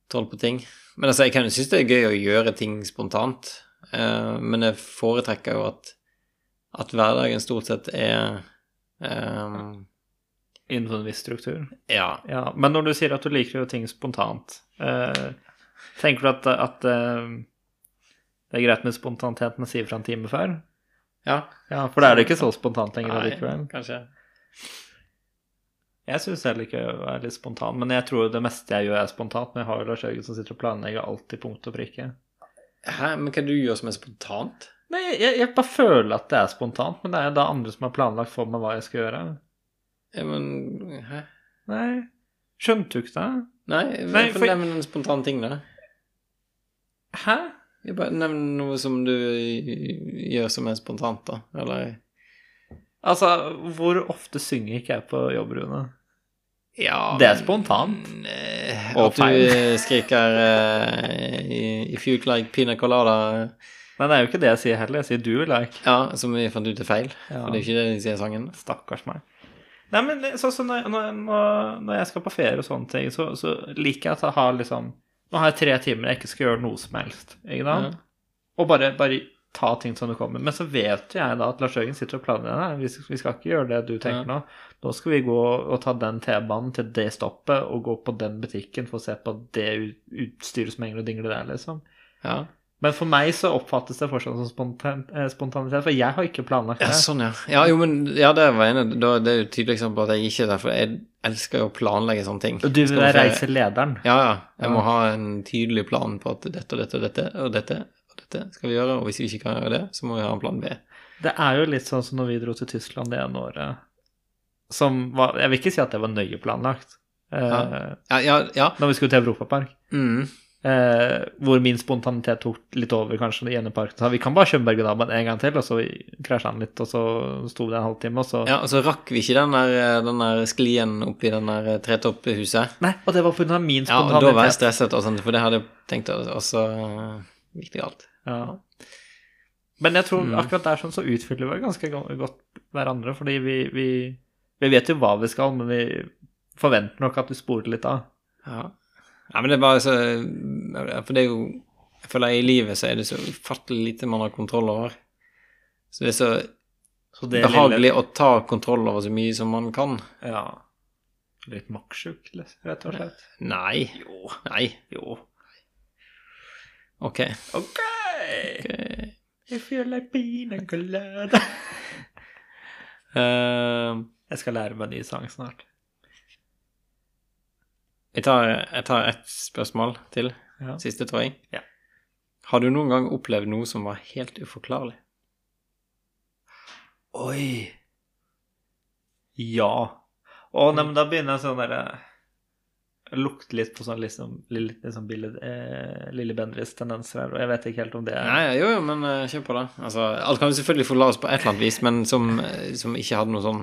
S2: kontroll på ting. Men altså, jeg kan jo synes det er gøy å gjøre ting spontant, eh, men jeg foretrekker jo at, at hverdagen stort sett er eh,
S1: Innenfor en viss struktur.
S2: Ja.
S1: Ja, Men når du sier at du liker å gjøre ting spontant, eh, tenker du at, at eh, det er greit med spontanitet, men si ifra en time før?
S2: Ja,
S1: Ja, for da er det ikke så spontant lenger
S2: Nei,
S1: allikevel.
S2: kanskje.
S1: Jeg syns heller ikke jeg er litt spontan, men jeg tror det meste jeg gjør, er spontant. Men jeg har jo Lars Jørgen som sitter og planlegger alt til punkt og prikke.
S2: Hæ, men hva du gjør som er spontant?
S1: Nei, jeg, jeg bare føler at det er spontant, men det er jo da andre som har planlagt for meg hva jeg skal gjøre.
S2: Ja, men Hæ?
S1: Nei, skjønte du ikke det?
S2: Nei,
S1: Nei,
S2: få
S1: for-
S2: nevne en spontan ting, da.
S1: Hæ?
S2: Jeg bare Nevn noe som du gjør som er spontant, da. Eller
S1: Altså, hvor ofte synger ikke jeg på jobb, Rune?
S2: Ja,
S1: Det er
S2: men-
S1: spontant.
S2: Eh,
S1: Og
S2: At du
S1: feil.
S2: eh, skriker eh, If you like pina colada
S1: Nei, det er jo ikke det jeg sier heller. Jeg sier du like.
S2: Ja, som vi fant ut er feil.
S1: Ja.
S2: For det er jo ikke det de sier i sangen.
S1: Stakkars meg. Nei, men det- sånn som når, når, når- når jeg skal på ferie og sånne ting, så, så liker jeg at jeg har liksom Nå har jeg tre timer jeg ikke skal gjøre noe som helst. Ikke sant?
S2: Ja.
S1: Og bare, bare ta ting som det kommer. Men så vet jo jeg da at Lars Jørgen sitter og planlegger det. Vi, skal- vi skal ikke gjøre det du tenker nå. Nå skal vi gå og ta den T-banen til det stoppet og gå på den butikken for å se på det ut- utstyret som henger og dingler der, liksom.
S2: Ja.
S1: Men for meg så oppfattes det fortsatt som spontan, eh, spontanitet, for jeg har ikke planlagt det.
S2: ja, sånn, ja. Ja, jo, men ja, det var jeg enig i. Da- Det er jo et tydelig eksempel på at jeg ikke er der, for jeg elsker jo å planlegge sånne ting.
S1: Du vil
S2: Skal på ferie.
S1: reise lederen.
S2: Ja, ja. Jeg må
S1: Ja.
S2: ha en tydelig plan på at dette og dette og dette og dette og dette skal vi gjøre, og hvis vi ikke kan gjøre det, så må vi ha en plan B.
S1: Det er jo litt sånn som når vi dro til Tyskland det ene året. Som var Jeg vil ikke si at det var nøye planlagt. Eh,
S2: Ja. Ja, ja, ja.
S1: Når vi skulle til Europapark.
S2: Mm.
S1: Eh, hvor min spontanitet tok litt over, kanskje, i ene parken. Så vi kan bare kjøre berg-og-dal-banen en gang til, og så krasja han litt, og så sto vi der en halvtime, og så
S2: ja, og så rakk vi ikke den der, eh, den der sklien oppi den der eh, tretopphuset.
S1: Nei, og det var pga. min
S2: Ja, og da var jeg
S1: spontanitet.
S2: stresset og sånt, for det hadde jeg tenkt, og så eh, gikk det galt.
S1: Ja, Men jeg tror
S2: Mm.
S1: akkurat der sånn så utfyller vi ganske go- godt hverandre, fordi vi, vi, vi vet jo hva vi skal, men vi forventer nok at vi sporer litt av.
S2: Ja. ja, men det er bare så For det er jo Jeg føler i livet så er det så ufattelig lite man har kontroll over. Så det er så
S1: Så det
S2: behagelig å ta kontroll over så mye som man kan.
S1: Lille, ja. Litt makksjuk, rett og slett.
S2: Nei. Nei.
S1: Jo.
S2: Ok.
S1: OK!
S2: Ok.
S1: I feel like being colada.
S2: Eh,
S1: Jeg skal lære meg en ny sang snart.
S2: jeg, tar, jeg tar ett spørsmål til.
S1: Ja.
S2: Siste, tror jeg.
S1: Ja.
S2: Har du noen gang opplevd noe som var helt uforklarlig?
S1: Oi. Ja. Å, nei, men da begynner jeg sånn derre Lukte litt på sånn liksom, litt, liksom Billy, eh, Lille Bendris tendenser her, og jeg vet ikke helt om det er
S2: Nei, jo, jo, men eh, kjør på, da. Altså, alt kan jo selvfølgelig forklares på et eller annet vis, men som, eh, som ikke hadde noe sånn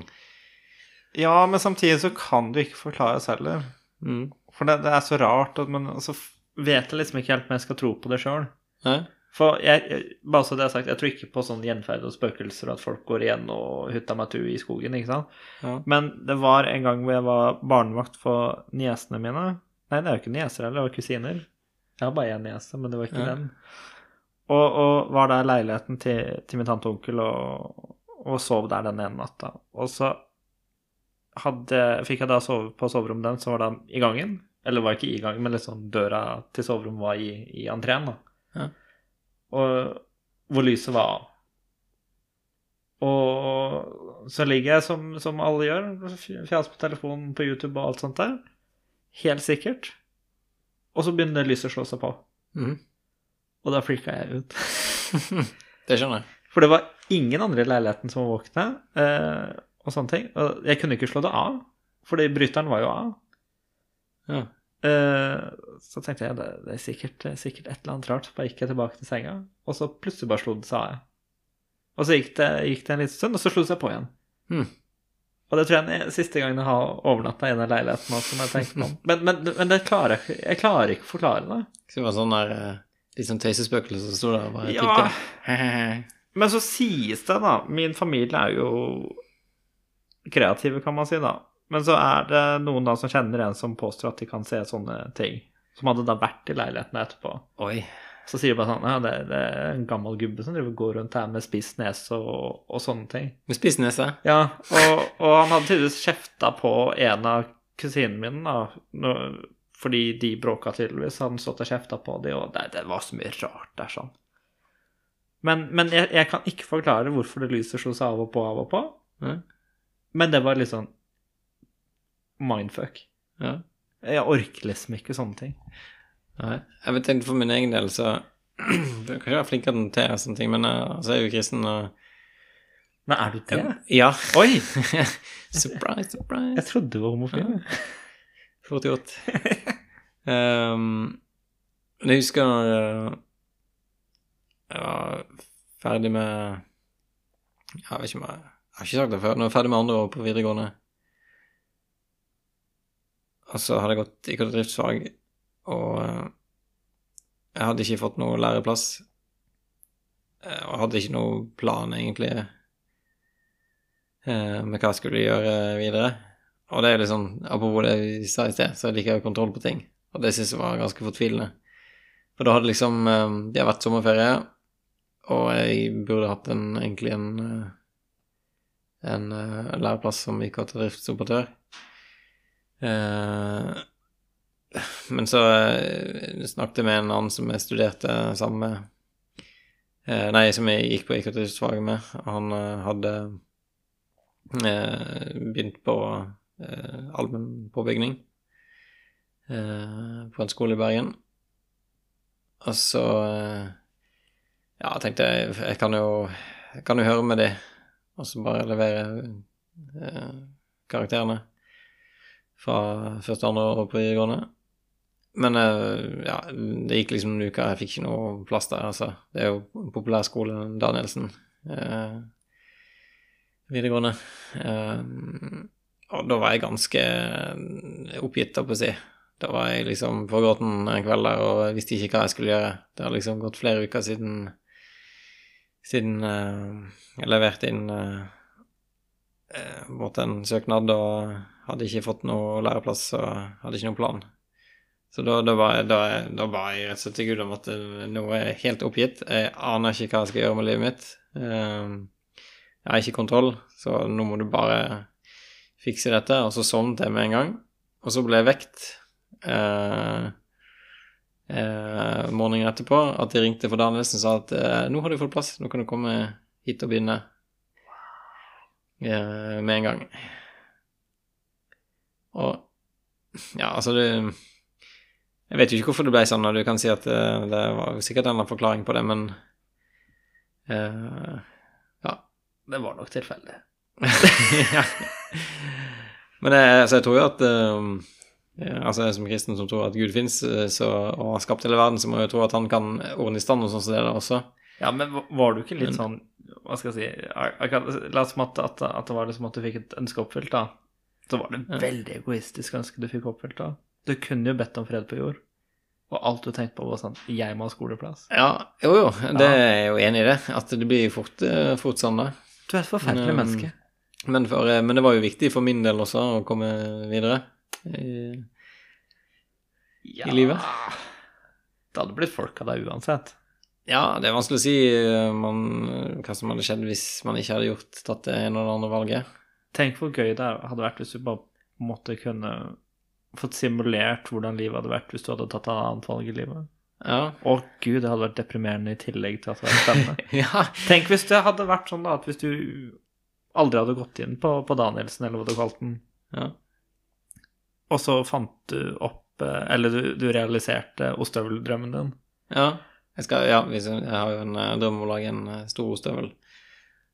S1: Ja, men samtidig så kan det ikke forklares heller.
S2: mm.
S1: For det, det er så rart, at, men så f- vet jeg liksom ikke helt om jeg skal tro på det sjøl.
S2: Nei?
S1: For jeg, jeg- bare så det er sagt, jeg tror ikke på sånn gjenferd og spøkelser og at folk går igjen og hutta meg tu i skogen, ikke sant.
S2: Ja.
S1: Men det var en gang hvor jeg var barnevakt for niesene mine. Nei, det er jo ikke nieser heller, det var kusiner. Jeg har bare én niese, men det var ikke
S2: Ja.
S1: den. Og, og var der i leiligheten til, til min tante og onkel og, og sov der den ene natta. Og så hadde, fikk jeg da sove på soverommet den, så var det i gangen. Eller var ikke i gangen, men liksom døra til soverommet var i, i entreen. da.
S2: Ja.
S1: Og hvor lyset var av. Og så ligger jeg som, som alle gjør, fjas på telefonen, på YouTube og alt sånt der. Helt sikkert. Og så begynner lyset å slå seg på.
S2: Mhm.
S1: Og da freaka jeg ut.
S2: det skjønner jeg.
S1: For det var ingen andre i leiligheten som var våkne. Eh, og sånne ting. Og jeg kunne ikke slå det av, fordi bryteren var jo av.
S2: Ja.
S1: Eh, så tenkte jeg det, det, er sikkert, det er sikkert et eller annet rart. Bare gikk jeg tilbake til senga, og så plutselig bare slo det seg av. Og så gikk det, gikk det en liten stund, og så slo det seg på igjen.
S2: Hmm.
S1: Og det tror jeg er den siste gangen jeg har overnatta i den leiligheten. Også, når jeg tenker meg om. men men, men det klarer jeg, ikke- jeg klarer ikke å forklare det.
S2: Så det var sånn der eh, litt sånn tøysespøkelse som sto der og bare
S1: Ja.
S2: tippa.
S1: Men så sies det, da Min familie er jo kreative, kan man si, da. Men så er det noen da som kjenner en som påstår at de kan se sånne ting. Som hadde da vært i leiligheten etterpå.
S2: Oi.
S1: Så sier de bare sånn Ja, det, det er en gammel gubbe som driver og går rundt her med spist nese og, og sånne ting.
S2: Med spiss nese.
S1: Ja, og, og han hadde tydeligvis kjefta på en av kusinene mine, da. Nå- fordi de bråka tydeligvis. Han stått og kjefta på de, og det, det var så mye rart der, sånn. Men, men jeg, jeg kan ikke forklare hvorfor det lyset slo seg av og på av og på.
S2: Nei.
S1: Men det var litt sånn mindfuck.
S2: Ja.
S1: Jeg orker liksom ikke sånne ting.
S2: Nei. Jeg vet ikke, for min egen del, så Du kan ikke være flink til å notere sånne ting, men eh, altså, jeg er jo kristen og
S1: Men er du det?
S2: Ja.
S1: Oi!
S2: surprise, surprise.
S1: Jeg trodde du var homofil.
S2: Fort gjort. Ehm, men jeg husker når eh, jeg var ferdig med Jeg vet ikke om jeg, jeg har ikke sagt det før. Når jeg var ferdig med andre år på videregående Og så hadde jeg gått IKT driftsfag, og eh, jeg hadde ikke fått noe læreplass. Eh, Og hadde ikke noe plan, egentlig, eh, med hva jeg skulle gjøre videre. Og det er jo litt sånn, apropos det vi sa i sted, så liker jeg jo kontroll på ting. Og det syns jeg var ganske fortvilende. For da hadde liksom eh, Det har vært sommerferie, og jeg burde hatt en, egentlig en eh, en eh, læreplass som IKT driftsoperatør. Eh, men så eh, snakket jeg med en annen som jeg studerte sammen med eh, Nei, som jeg gikk på IKT driftsfaget med. og Han eh, hadde eh, begynt på eh, allmenn påbygning eh, på en skole i Bergen. Og så eh, ja, tenkte jeg jeg kan jo, jeg kan jo høre med de, og så bare levere eh, karakterene fra første, andre og på videregående. Men eh, ja, det gikk liksom noen uker, jeg fikk ikke noe plass der, altså. Det er jo populærskole Danielsen eh, videregående. Eh, og da var jeg ganske eh, oppgitt, holdt på å si. Da var jeg liksom på gråten en kveld der og jeg visste ikke hva jeg skulle gjøre. Det har liksom gått flere uker siden, siden eh, jeg leverte inn eh, eh, på en måte en søknad og hadde ikke fått noe læreplass og hadde ikke noen plan. Så da, da, var jeg, da, da var jeg rett og slett til Gud om at eh, nå er jeg helt oppgitt. Jeg aner ikke hva jeg skal gjøre med livet mitt. Eh, jeg har ikke kontroll, så nå må du bare fikse dette. Og så sovnet jeg med en gang. Og så ble jeg vekt eh, eh, morgenen etterpå at de ringte for Danielsen og sa at eh, nå har du fått plass, nå kan du komme hit og begynne eh, med en gang. Og ja, altså det Jeg vet jo ikke hvorfor det ble sånn, og du kan si at det, det var jo sikkert en eller annen forklaring på det, men eh, Ja.
S1: Det var nok tilfeldig.
S2: ja. Men jeg, altså, jeg tror jo at eh, eh, Altså, jeg som kristen som tror at Gud fins og har skapt hele verden, så må jeg jo tro at han kan ordne i stand og sånn som det der også.
S1: Ja, men va- var du ikke litt
S2: Men-
S1: sånn Hva skal jeg si jeg- jeg kan- La oss si at, at, at det var liksom at du fikk et ønske oppfylt, da. Så var det
S2: Ja.
S1: veldig egoistisk ønske du fikk oppfylt, da. Du kunne jo bedt om fred på jord. Og alt du tenkte på, var sånn Jeg må ha skoleplass.
S2: Ja, jo, jo, det
S1: Ja.
S2: er jeg jo enig i det. At det blir fort, eh, fort sånn, da.
S1: Du er et forferdelig
S2: Men,
S1: menneske.
S2: Men, for, eh, men det var jo viktig for min del også å komme videre. Eh,
S1: Ja.
S2: livet?
S1: Det hadde blitt folk av deg uansett.
S2: Ja, det er vanskelig å si eh, man, hva som hadde skjedd hvis man ikke hadde gjort tatt det ene og det andre valget.
S1: Tenk hvor gøy det hadde vært hvis du bare måtte kunne fått simulert hvordan livet hadde vært hvis du hadde tatt et annet valg i livet.
S2: Ja.
S1: Å gud, det hadde vært deprimerende i tillegg til at det var spennende.
S2: ja.
S1: Tenk hvis det hadde vært sånn da, at hvis du aldri hadde gått inn på, på Danielsen, eller hva du kalte den,
S2: ja.
S1: og så fant du opp eh, Eller du, du realiserte ostehøveldrømmen din.
S2: Ja, jeg, skal, ja hvis jeg, jeg har jo en eh, drøm om å lage en eh, stor ostehøvel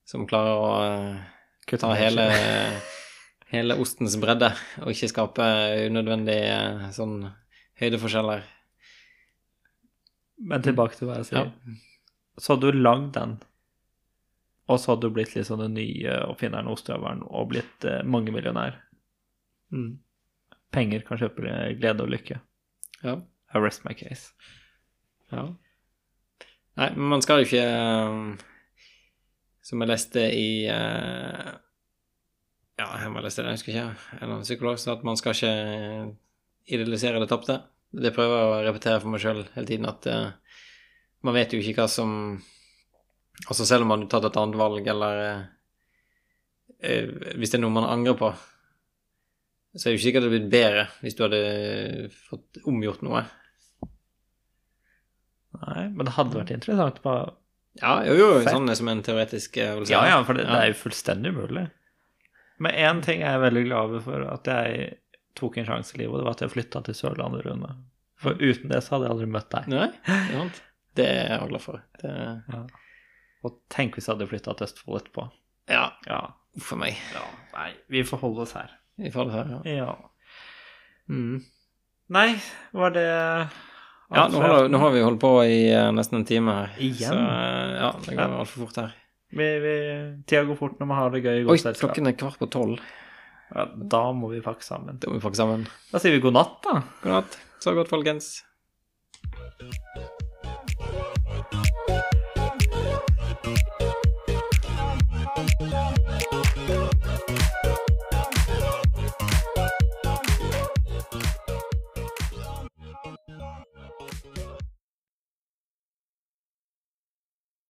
S2: som klarer å eh, ta hele, hele ostens bredde og ikke skape unødvendige eh, sånn høydeforskjeller.
S1: Men tilbake til hva jeg sier.
S2: Ja.
S1: Så hadde du lagd den, og så hadde du blitt liksom den nye oppfinneren og ostehøvelen og blitt eh, mangemillionær. Penger kan kjøpe glede og lykke.
S2: Ja.
S1: I rest my case.
S2: Ja. Nei, men man skal jo ikke eh, Som jeg leste i eh, Ja, jeg må leste det, jeg husker ikke. En eller annen psykolog sa at man skal ikke eh, idealisere det tapte. Det prøver jeg å repetere for meg sjøl hele tiden, at eh, man vet jo ikke hva som Altså selv om man har tatt et annet valg, eller eh, eh, hvis det er noe man angrer på, så er det jo ikke sikkert det hadde blitt bedre hvis du hadde fått omgjort noe.
S1: Nei, men det hadde vært interessant. På,
S2: Ja, jo, jo,
S1: Fett.
S2: sånn som en teoretisk øvelse.
S1: ja, ja, for det, det er jo fullstendig umulig. Men én ting er jeg veldig glad over for at jeg tok en sjanse i livet, og det var at jeg flytta til Sørlandet, Rune. For uten det så hadde jeg aldri møtt deg.
S2: Nei, det er sant. Det er jeg glad for. Det er...
S1: Og tenk hvis jeg hadde flytta til Østfold etterpå.
S2: Ja,
S1: Ja.
S2: uff a meg.
S1: ja. Nei, vi får holde oss her.
S2: Vi får det her, ja.
S1: Ja.
S2: Mm.
S1: Nei, var det
S2: Ja, nå har, nå har vi holdt på i eh, nesten en time her.
S1: Igjen?
S2: Så eh, ja, det
S1: Ja.
S2: går altfor fort her.
S1: vi, vi, Tida går fort når man har det gøy i
S2: Oi,
S1: godt selskap.
S2: klokken er kvart på tolv.
S1: Ja, da må vi pakke sammen.
S2: Da må vi pakke sammen.
S1: Da sier vi god natt, da.
S2: God natt. Så godt, folkens.